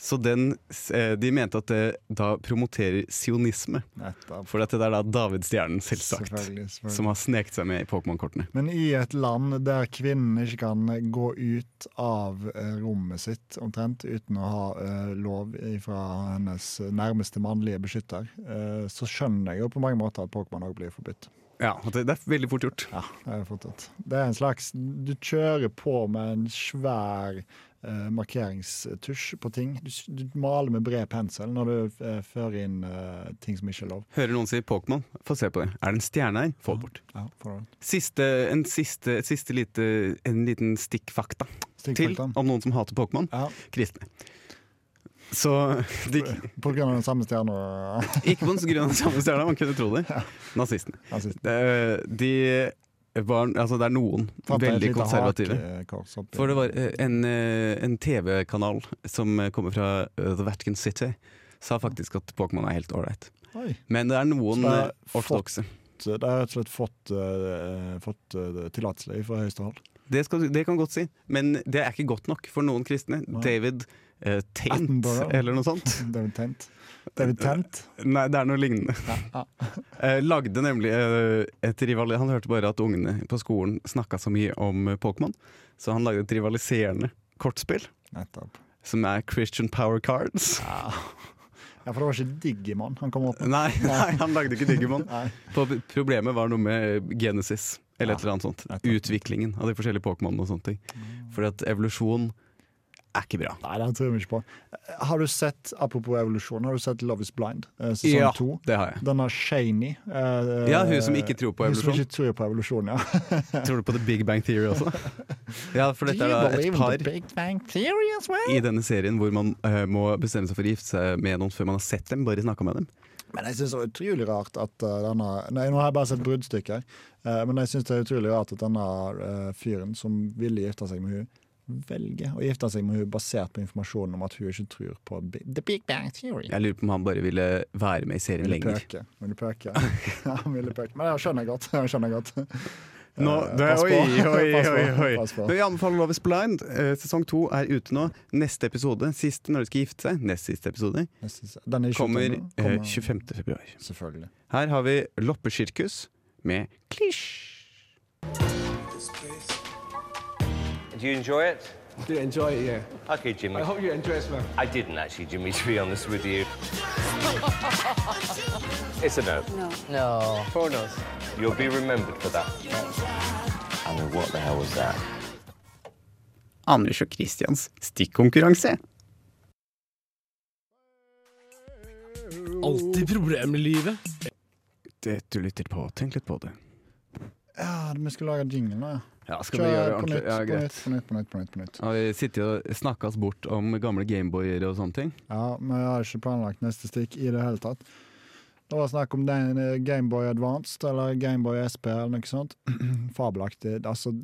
Så den, s- eh, de mente at det da promoterer sionisme.
Nettopp.
For dette er da Davidstjernen, selvsagt.
Selvfølgelig, selvfølgelig.
Som har sneket seg med i Pokémon-kortene.
Men i et land der kvinnen ikke kan gå ut av eh, rommet sitt omtrent uten å ha eh, lov fra hennes nærmeste mannlige beskytter, eh, så skjønner jeg jo på mange måter at Pokémon òg blir forbudt.
Ja, at det, det er veldig fort gjort.
Ja, Det er fortsatt. Det er en slags Du kjører på med en svær eh, markeringstusj på ting. Du, s- du maler med bred pensel når du eh, fører inn eh, ting som ikke er lov.
Hører noen si Pokémon, få se på det. Er det en stjerne her? Få det bort.
Ja, får du det.
Siste, en, siste, et siste lite, en liten stikkfakta
Stikk
til
fakta.
om noen som hater Pokémon.
Ja,
kristne. Så de,
på grunn av den samme stjerna.
Ikke på grunn av den samme stjerna, man kunne tro det. Nazistene.
*laughs* Altså,
Eh, De var Altså, det er noen
Fant jeg et
veldig
lite
konservative.
hakekors oppi.
For det var eh, en, eh, en TV-kanal som kommer fra eh, The Vatican City, sa faktisk at Pokémon er helt ålreit.
Oi.
Men det er noen
Så det er
eh, ortodokse.
Så Det har rett og slett fått, eh, fått eh, tillatelse fra høyeste hold.
Det, skal, det kan godt si, men det er ikke godt nok for noen kristne.
Nei.
David eh, Taint,
Attenborough.
eller noe sånt.
*laughs* David Tent. David Tent.
Nei, det er noe lignende.
Ja.
*laughs* Eh, lagde nemlig eh, et rival... Han hørte bare at ungene på skolen snakka så mye om eh, Pokémon, så han lagde et rivaliserende kortspill
*laughs* Nettopp.
som er Christian Power Cards.
Ja, for det var ikke Digimon han kom opp med.
*laughs* Nei, nei, han lagde ikke Digimon.
*laughs* Nei.
Pro- Problemet var noe med eh, Genesis, eller et eller annet sånt.
nettopp. Mm.
Utviklingen av de forskjellige Pokémonene og sånne ting. Fordi at evolusjon er ikke bra.
Nei, det tror vi ikke på. Eh, Har du sett, apropos evolusjon, har du sett Love is Blind eh,
Ja,
sesong to?
det har
*laughs*
jeg.
Denne Shani. eh,
Ja, hun som ikke tror på
Hun som
evolusjon.
ikke tror på evolusjon, ja.
Tror du på The Big Bang Theory
*laughs*
også? Ja, for dette er da et par
Big Bang Theory as well?
i denne serien hvor man eh, må bestemme seg for å gifte seg med noen før man har sett dem, bare snakka med dem.
Men jeg syns det er utrolig rart at eh, denne Nei, nå har jeg bare sett bruddstykker. eh, men jeg syns det er utrolig rart at denne eh, fyren som ville gifte seg med hun velger å gifte seg med hun basert på informasjonen om at hun ikke tror på bi-
The Big Bang Theory.
Jeg lurer på om han bare ville være med i serien
Ville
lenger.
pøke. Ville pøke. Ja, han ville pøke. Men det skjønner jeg godt. *laughs* Det skjønner jeg godt.
Nå-
Eh,
det-
pass på. Pass på, pass på.
Men Vi anbefaler Love is Blind. Eh, sesong to er ute nå. Neste episode, siste når de skal gifte seg, nest siste episode,
Jeg synes- Den er 25
kommer,
nå.
eh,
Kommer-
25. februar.
Selvfølgelig.
Her har vi Loppesirkus med Klisj.
Do you enjoy it?
Do you enjoy it, yeah.
Okay, Jimmy.
I hope you enjoy it, man.
I didn't actually, Jimmy, *laughs* to be honest with you. it's a no.
No.
Pornos.
You'll be remembered for that. I mean, what the hell was that?
Anders og Christians stikkonkurranse.
Alltid problemer i livet.
Det du lytter på, tenk litt på det.
Ja, vi skulle lage jingle nå, ja.
Ja, skal vi gjøre det
på
ordentlig?
nytt,
Ja,
på
greit.
nytt, på nytt, på nytt, på nytt, på nytt.
Har vi sittet og snakka oss bort om gamle Gameboyer og sånne ting?
Ja, men jeg har ikke planlagt neste stikk i det hele tatt. Det var snakk om den eh, Game Boy Advanced eller Gameboy SP eller noe sånt. *clears throat* Fabelaktig. Altså,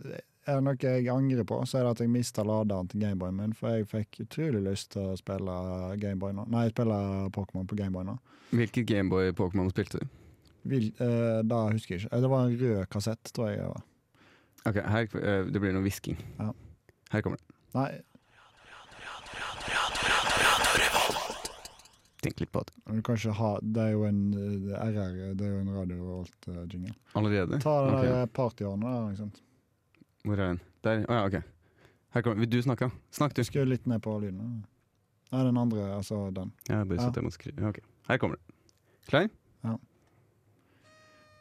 er det noe jeg angrer på, så er det at jeg mista laderen til Gameboyen min, for jeg fikk utrolig lyst til å spille Gameboy nå. Nei, spille Pokémon på Gameboy nå.
Hvilket Gameboy-Pokémon spilte du?
Vil, eh, da husker jeg ikke. Eh, Det var en rød kassett, tror jeg det var.
Ok, her, eh, Det blir noe hvisking.
Ja.
Her kommer det.
Nei,
Tenk litt på det.
du kan ikke ha Det er jo en eh, RR, det er jo en Radio Volt-jingle.
Allerede?
Ta det
Ok,
der eh. partyhånda der, liksom. ikke sant.
Hvor er den? Der. Å ja, ok. Her kommer Vil du snakke? Snakk, du.
Skru litt ned på lyden. Nei, den andre, altså den.
Ja, bare
Ja.
satt jeg må skru. Ok, Her kommer det. Klar?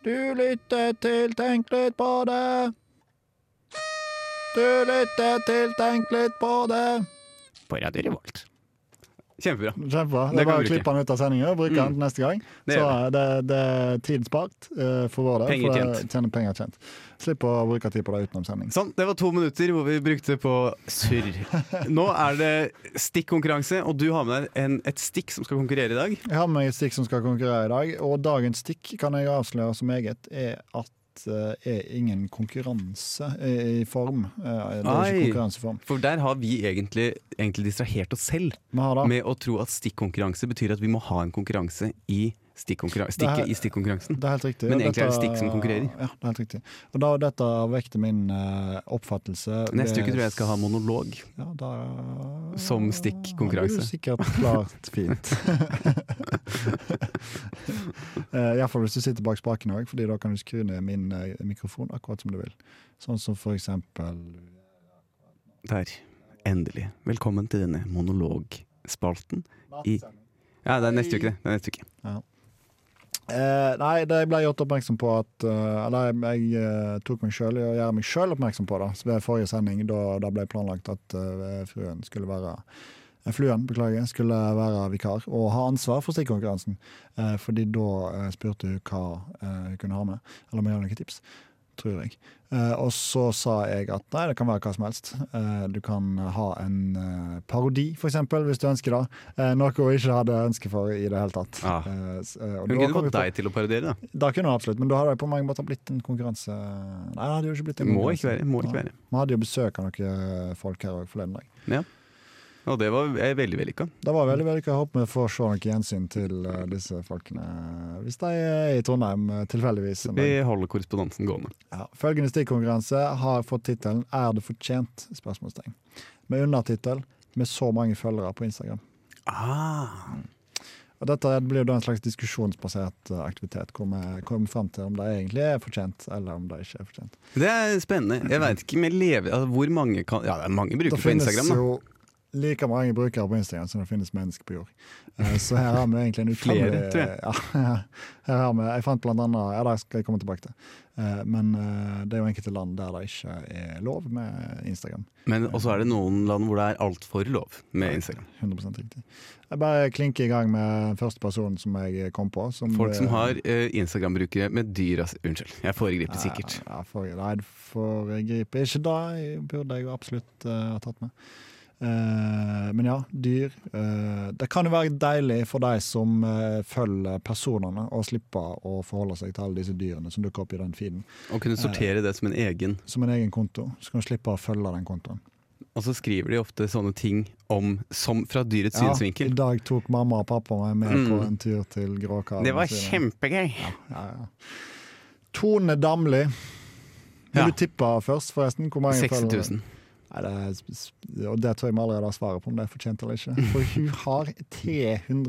Du lytter til Tenk litt på det. Du lytter til Tenk litt på det.
På Radio Revolt.
Kjempebra. Det
Kjempebra. Det er
kan
bare
vi
å
bruke.
klippe den ut av sendinga og bruke den neste gang.
Det
så eh,
gjør
det, det er tid spart eh, for vår del.
Penger
for det Tjener penger tjent. Slipp å bruke tid på det utenom sending.
Sånn, det var to minutter hvor vi brukte på
*laughs*
surr. Nå er det stikkonkurranse, og du har med deg en, et stikk som skal konkurrere i dag.
Jeg har med meg et stikk som skal konkurrere i dag, og dagens stikk kan jeg avsløre som eget er at eh, er ingen konkurranse i i form. Eh, Det er
Ai.
ikke konkurranseform.
For der har vi egentlig, egentlig distrahert oss selv
Vi har det.
med å tro at stikkonkurranse betyr at vi må ha en konkurranse i stikkonkurran-
Det
stikket
er-
i stikkonkurransen.
Det er helt riktig.
Men
og
egentlig er det
dette-
stikk som konkurrerer.
Ja, det er helt riktig. Og da, dette vekte min eh, oppfattelse
Neste uke tror
ved-
jeg jeg skal ha monolog.
ja, da,
Som stikkonkurranse.
Det er jo sikkert
*laughs*
klart *laughs* fint. Eh, Iallfall hvis du sitter bak spaken òg, Fordi da kan du skru ned min eh, mikrofon akkurat som du vil. Sånn som for eksempel
Der. Endelig. Velkommen til denne monologspalten. I, ja, det er neste uke, det. det er neste uke.
Eh, nei, det jeg ble gjort oppmerksom på at eh, Eller jeg, jeg eh, tok meg sjøl i å gjøre meg sjøl oppmerksom på det Så ved forrige sending. Da, da ble planlagt at eh, fruen skulle være eh, Fluen beklager, skulle være vikar og ha ansvar for stikkonkurransen. Eh, fordi da eh, spurte hun hva eh, hun kunne ha med, eller om jeg hadde noen tips. Tror jeg. Eh, og så sa jeg at nei, det kan være hva som helst. Eh, du kan ha en eh, parodi, f.eks., hvis du ønsker det. Eh, noe hun ikke hadde ønske for i det hele tatt.
Ah.
Eh, s- eh, og
Hun
da
kunne
kom vi
fått
på-
deg til å parodiere, da.
da kunne det absolutt, men da hadde det på mange måter blitt en konkurranse. Nei, det hadde jo ikke blitt en
Må
konkurranse.
ikke være, må ikke
Nei.
være.
Vi hadde jo besøk av noen eh, folk her også forleden dag.
Og det var eh, veldig vellykka.
Det var veldig veldig gøy. Jeg håper vi får se noe gjensyn til eh, disse folkene hvis de er i Trondheim eh, tilfeldigvis. en
Vi
dag.
holder korrespondansen gående.
Ja. Følgende stikkonkurranse har fått tittelen 'Er det fortjent?' spørsmålstegn. Med undertittel 'Med så mange følgere på Instagram'.
Ah.
Og dette blir jo da en slags diskusjonsbasert eh, aktivitet, hvor vi kommer fram til om det egentlig er fortjent, eller om det ikke er fortjent.
Det er spennende. Jeg veit ikke med leve... Altså, hvor mange kan Ja, det er mange brukere på Instagram, da.
jo like mange brukere på Instagram som det finnes mennesker på jord. Eh, Så her har vi egentlig
*laughs*
en
Flere,
utrolig-
tror jeg.
*laughs* Ja, her har vi, jeg fant blant annet Ja, det skal jeg komme tilbake til. Eh, Men eh, det er jo enkelte land der det ikke er lov med Instagram.
Men også er det noen land hvor det er altfor lov med Instagram.
100 riktig. Jeg bare klinker i gang med den første personen som jeg kom på. Som,
Folk som har eh, Instagram-brukere med dyra Unnskyld, jeg foregriper sikkert.
Ja, for, nei, du foregriper ikke da. Jeg burde jeg jo absolutt eh, ha tatt med. Eh, men ja, dyr. eh, det kan jo være deilig for de som eh, følger personene, å slippe å forholde seg til alle disse dyrene som dukker opp i den feeden.
Å kunne sortere det som en egen.
Som en egen konto. Så kan du slippe å følge den kontoen.
Og så skriver de ofte sånne ting om, som fra dyrets
Ja, I
synsvinkel.
dag tok mamma og pappa meg med på
Mm.
en tur til Gråkaren.
Det var
og så videre.
kjempegøy.
ja, ja. Tone Damli. Vil
Ja.
du tippe først, forresten? Hvor mange
60
følgere-
000.
Nei, det er, sp- sp- og det tror jeg vi allerede har svaret på om det er fortjent eller ikke. For hun har 325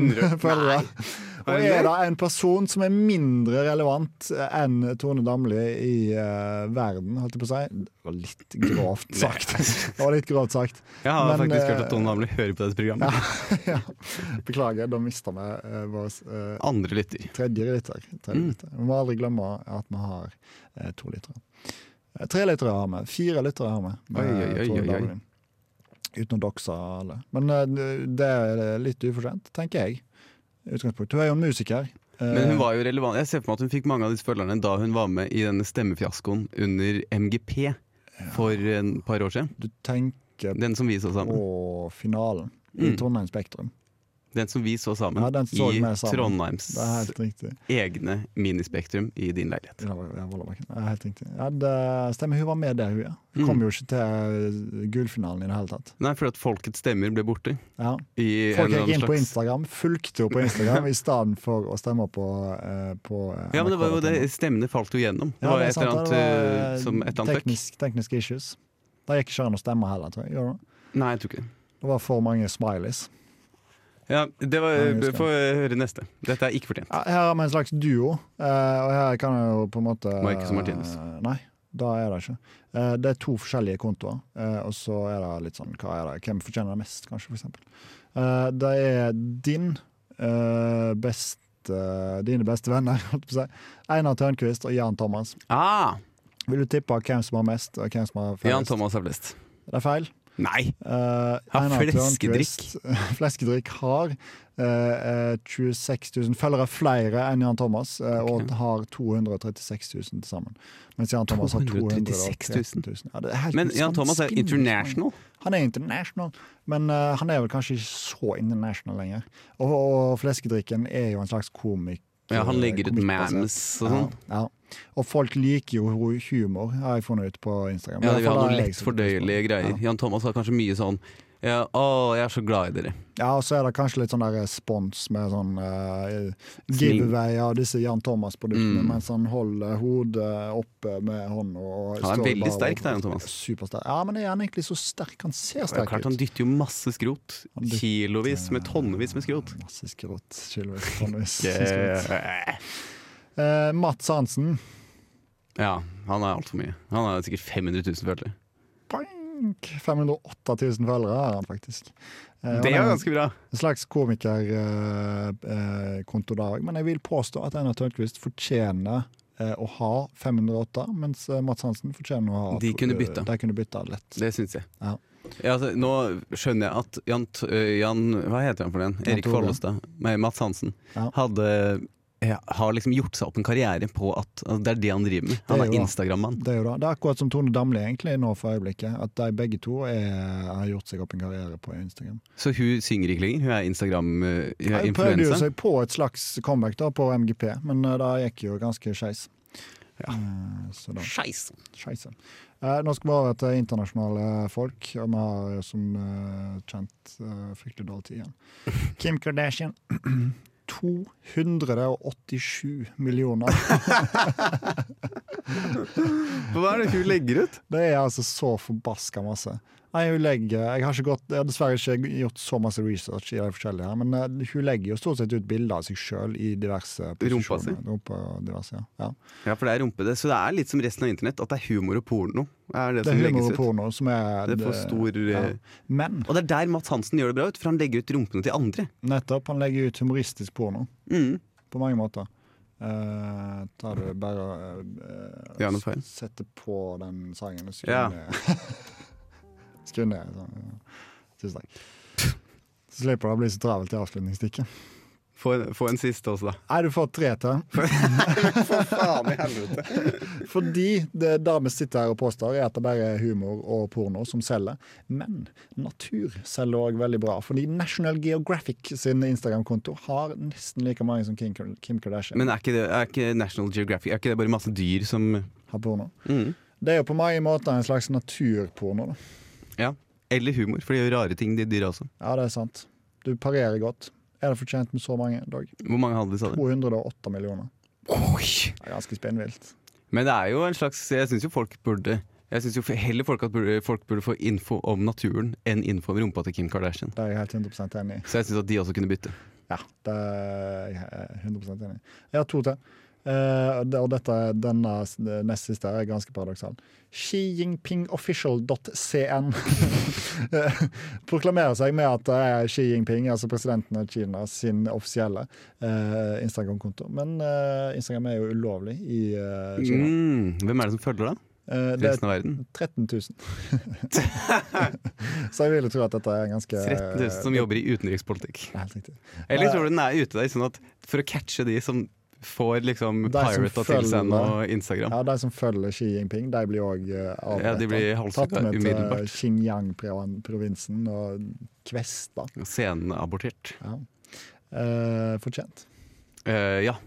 000
300?
*laughs* følgere. Og
Er det det?
er det en person som er mindre relevant eh, enn Tone Damli i eh, verden, holdt jeg på å si? Det var litt grovt sagt. Det var litt grovt sagt. *laughs*
Jeg har
Men,
faktisk
eh,
hørt at Don Damli hører på dette programmet.
Ja. Beklager, da mista vi eh, vår eh,
Andre lytter.
tredje liter. Tredje
Mm.
liter. Vi må aldri glemme at vi har eh, to litere. Eh, tre litere har vi. Fire litere har vi. med
Oi, oi, oi, oi,
Tone
oi.
Damli. Uten å doxe alle. Men eh, det er litt ufortjent, tenker jeg. i Utgangspunkt. Hun er jo en musiker. Eh,
Men hun var jo relevant. Jeg ser for meg at hun fikk mange av disse følgerne da hun var med i denne stemmefiaskoen under MGP for et par år siden.
Du tenker
Den som vi så sammen.
på finalen i
Mm.
Trondheim Spektrum.
Den som vi så sammen
Ja, den så
i
vi sammen.
Trondheims
Det er helt riktig.
egne minispektrum i din leilighet.
Ja, ja, Vollebakken. Ja, helt riktig. Ja, det stemmer, hun var med der, hun, ja. Hun
Mm.
kom jo ikke til eh, gullfinalen i det hele tatt.
Nei, fordi at folkets stemmer ble borte.
Ja.
I
Folk
en eller
gikk
annen
inn på
slags-
Instagram, fulgte jo på Instagram i stedet for å stemme på, eh, på eh,
Ja, men det var jo
NRK.
det, stemmene falt jo gjennom. Det
Ja,
var
er
et eller
sant,
annet
det var,
eh,
eh,
som et eller annet fuck.
teknisk, tekniske issues. Det gikk ikke an å stemme heller, tror jeg. Gjorde det?
Nei, jeg tror ikke det.
det var for mange smileys.
Ja, det var,
Nei, jeg husker.
Få høre neste. Dette er ikke fortjent.
Ja, her har vi en slags duo, eh, og her kan jeg jo på en måte
Marcus og Martinus.
eh, Nei, da er det ikke. Eh, det er to forskjellige kontoer, eh, og så er det litt sånn hva er det? Hvem fortjener det mest, kanskje, for eksempel. Eh, det er din eh, beste dine beste venner, *laughs* holdt jeg på å si. Einar Tørnquist og Jan Thomas.
Ah,
Vil du tippe hvem som har mest, og hvem som har
Jan
færrest?
Thomas har flest.
Det er feil.
Nei!
Uh,
Ja, fleskedrikk.
*laughs* fleskedrikk har eh, eh, 26 000 følgere flere enn Jan Thomas, eh, og har 236 000 til sammen. Mens Jan Thomas har
236
213
000.
000. Ja, det er helt
Men Jan
sånn
Thomas er
spinning.
international.
Han er international, men eh, han er vel kanskje ikke så international lenger. Og, og fleskedrikken er jo en slags komik.
Ja, han legger ut
komikkbasert.
mams og sånn.
Ja, ja. Og folk liker jo hu- humor, har jeg funnet ut på Instagram.
Ja, de vil ha
Iallfall har
noe
jeg
lett
sett pris på.
fordøyelige greier.
Ja.
Jan Thomas var kanskje mye sånn ja, 'Å, jeg er så glad i dere'.
Ja, og så er det kanskje litt sånn der respons med sånn uh,
Smil.
giveaway av disse Jan Thomas-produktene,
Mm.
mens han holder eh, hodet oppe med hånda.
Han er
og står
veldig
bare
sterk, da, Jan
og-
Thomas.
Supersterk. Ja, men er han egentlig så sterk? Han ser
Det er
sterk
klart Han
ut.
dytter jo masse skrot.
Han dytter-
Kilovis med tonnevis med skrot.
Masse skrot. Skilvis,
*laughs*
tonnevis, skrot.
Yeah.
Eh, Mats Hansen.
Ja, han er altfor mye. Han har sikkert 500 000 følgere.
Bank! 508 000 følgere har han faktisk. Eh,
Det er jo
han
ganske bra!
En slags komikerkonto der òg, men jeg vil påstå at Einar Tørnquist fortjener eh, å ha 508, mens eh, Mats Hansen fortjener å ha
De kunne bytta.
De kunne bytta lett.
Det syns jeg.
Ja.
Ja, altså, nå skjønner jeg at Jan, T- øh, Jan Hva heter han for den?
Jan
Erik
Tore.
Follestad. Nei, Mats Hansen.
Ja.
Hadde ja, har liksom gjort seg opp en karriere på at altså, det er det han driver med. Han
Det er
er
jo det.
Instagram-mann.
Det er jo da. Det er akkurat som Tone Damli egentlig nå for øyeblikket, at de begge to er, har gjort seg opp en karriere på Instagram.
Så hun synger ikke lenger. Hun er eh,
De prøvde jo
Instagram-influenser.
seg på et slags comeback da på MGP, men eh, det gikk jo ganske skeis.
Ja.
Eh, så da-
Skeis!
Scheisse. Eh, nå skal vi over til internasjonale folk, og vi har jo som eh, kjent eh, fryktelig dårlig
*laughs*
tid igjen. Kim Kardashian. *clears throat* 287 millioner.
Hva er det hun legger ut?
Det er altså så forbaska masse. Nei, hun legger, jeg, har ikke gått, jeg har dessverre ikke gjort så masse research, i de forskjellige her, men eh, hun legger jo stort sett ut bilder av seg sjøl i diverse
Rumpa si?
Rumpa diverse, ja. ja.
Ja, for det er rumpete. Så det er litt som resten av internett, at det er humor og porno. Er det, som
Det er humor
legges
og
ut.
porno som er
Det får stor
ja.
eh,
Men
Og det er der Mats Hansen gjør det bra ut, for han legger ut rumpene til andre.
nettopp, han legger ut humoristisk porno.
Mm.
på mange måter. Eh, tar du bare uh,
Gjør noe feil.
Setter på den sangen og skru
Ja.
ned. *laughs* skru ned. Sånn. ja. Tusen takk. Så slipper det å bli så travelt i avslutningsstikket.
Få en, få en siste også, da.
Nei, du får tre
*laughs*
til.
Faen i helvete.
*laughs* Fordi det der vi sitter her og påstår, er at det bare er humor og porno som selger. Men natur selger òg veldig bra. Fordi National Geographic sin Instagram-konto har nesten like mange som Kim Kim Kardashian
Men er ikke, det, er ikke National Geographic Er ikke det bare masse dyr som
har porno.
mm.
Det er jo på mange måter en slags naturporno. da.
Ja. Eller humor, for de gjør rare ting, de dyra også.
Ja, det er sant. Du parerer godt. Er det fortjent med så mange, Dag?
Hvor mange hadde de, sa du?
208 millioner.
Oi!
Det er ganske spinnvilt.
Men det er jo en slags Jeg syns jo folk burde Jeg synes jo heller folk, at burde, folk burde få info om naturen enn info om rumpa til Kim Kardashian.
Det er jeg helt 100 enig i.
Så jeg syns at de også kunne bytte.
Ja, det er jeg 100 enig i. Jeg har to til. Eh, det- og dette, denne s- eh, nest siste er ganske paradoksal. Xi-Jinping-official.cn eh, *laughs* proklamerer seg med at det er Xi Jinping, altså presidenten av Kina, sin offisielle eh, Instagram-konto. Men eh, Instagram er jo ulovlig i eh, Kina.
Mm. Hvem er det som følger da?
Eh, det er
Resten av verden?
13
*laughs*
000. *laughs* så jeg vil jo tro at dette er en ganske eh,
13 000 som jobber i utenrikspolitikk.
Helt riktig.
Eller tror du den er ute der sånn at for å catche de som får liksom
De som
pirata til seg
følger-
noe Instagram?
Ja, De som følger Xi Jinping, de blir òg
Ja, de blir halshugget
Tatt med
umiddelbart.
til Xinjiang-provinsen og kvesta.
Scenen er abortert.
Ja. Eh, fortjent.
Eh, ja.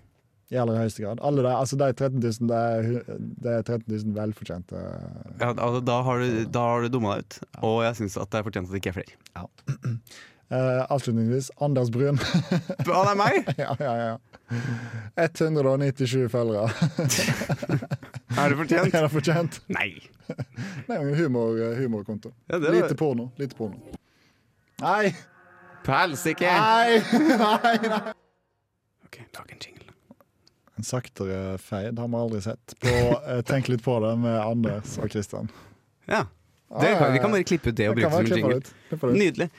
I aller høyeste grad. Alle de, altså de 13 000, det er, hu- det er 13 000 velfortjente
ja altså, da har du, da har du dumma deg ut. Og jeg syns at det er fortjent at det ikke er flere.
*clears throat* eh, Avslutningsvis, Anders Brun. *laughs*
Å, det er meg!
ja, ja, ja. 197 følgere. *laughs*
Er det
er
fortjent?
det fortjent?
*laughs* Nei.
Nei, men humor, eh, humorkonto.
Ja, det var-
Lite porno. Lite porno. Nei!
Helsike!
Nei!
Ah. Ok, lag en jingle.
En saktere fade har vi aldri sett. På, eh, tenk litt på det med Anders og Kristian.
Ja. Det kan, vi kan bare klippe ut det og bruke det som en jingle.
jingle.
Mm. Nydelig.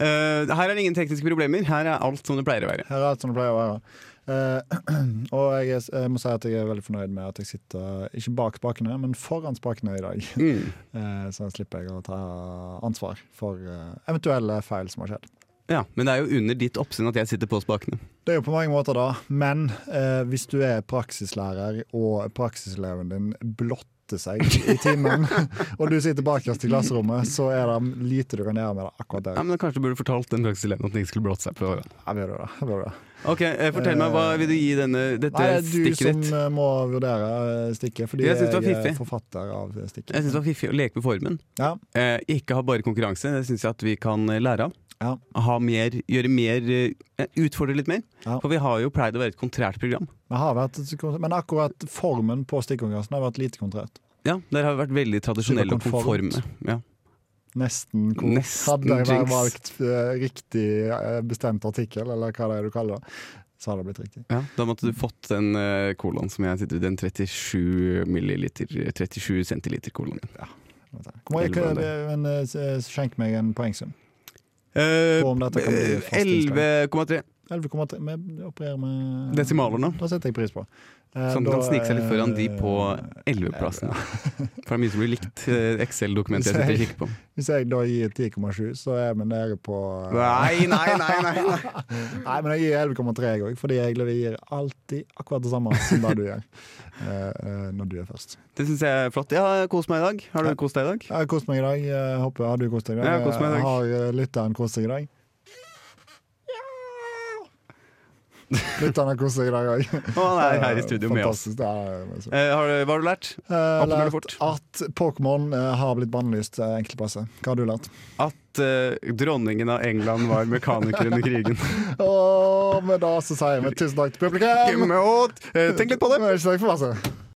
Eh, her er det ingen tekniske problemer. Her er alt som det pleier å være.
Her er alt som det pleier å være. Eh, *clears throat* og jeg, er, jeg må si at jeg er veldig fornøyd med at jeg sitter ikke bak spakene, men foran spakene i dag.
Mm.
*laughs* Eh, så da slipper jeg å ta ansvar for eh, eventuelle feil som har skjedd.
Ja, Men det er jo under ditt oppsyn at jeg sitter på spakene.
Det er jo på mange måter da, men eh, hvis du er praksislærer og praksiseleven din blotter seg i
*laughs*
timen, og du sitter bakerst i klasserommet, så er det lite du kan gjøre med det akkurat
Ja,
der.
men da Kanskje du burde fortalt den praksiseleven at den ikke skulle blotte seg på
Jeg vil jo det, jeg vil jo det.
Ok, eh, Fortell meg, hva vil du gi denne, dette
Nei, det er du
stikket
som
ditt?
eh, må vurdere eh, stikket, fordi
Jeg synes
jeg,
det var
er
fiffig.
forfatter av eh, stikket.
Jeg syns det var fiffig å leke med formen.
Ja,
Eh, ikke ha bare konkurranse, det syns jeg at vi kan eh, lære av.
ja.
Ha mer, gjøre mer, eh, utfordre litt mer.
Ja.
For vi har jo pleid å være et kontrært program.
Vi har vært, et sekund- men akkurat formen på stikkonkurransen har vært lite konkret.
Ja, Der har vi vært veldig tradisjonelle og
Superkonformt.
konforme. Ja.
Nesten kor-
Nesten
Hadde jeg bare
jinx.
valgt eh, riktig eh, bestemt artikkel, eller hva det er du kaller det, så hadde det blitt riktig.
Ja, da måtte du fått den uh, colaen som jeg sitter i, den 37 milliliter 37 centiliter colaen.
Hvor mange, hva, men, eh, s- skjenk meg en poengsum.
Eh,
På om dette kan bli fast
11,3
11,3 Vi opererer med eh,
desimaler nå.
Da setter jeg pris på. Eh,
Som
da,
Sånn, kan snike seg litt foran de på
eh,
11-plassen. *laughs* For det er mye som blir likt eh, Excel-dokumentet jeg sitter og
*laughs*
kikker på.
Hvis jeg da gir 10,7, så er vi nede på eh,
Nei, nei, nei! nei, nei.
Nei, men jeg gir 11,3 jeg òg, fordi jeg gir alltid akkurat det samme som det du
*laughs*
gjør eh, eh, når du er først.
Det syns jeg er flott. Jeg har kost meg i dag. Har du kost deg i dag?
Jeg har kost meg i dag. eh, håper Har du kost deg i dag?
Jeg har kost meg i dag.
Har eh, lytteren kost seg i dag? Lytteren har kost seg i dag òg.
Og han er her i studio med oss.
Fantastisk. Det er,
Eh, har du, hva har du lært?
Eh,
Oppsummer det
lært
fort.
at Pokémon eh, har blitt bannlyst eh, enkelte plasser. Hva har du lært?
At eh, dronningen av England var mekaniker under krigen.
Og med det så sier vi tusen takk til publikum!
Og, eh, tenk litt på det!
Ikke snakk for masse.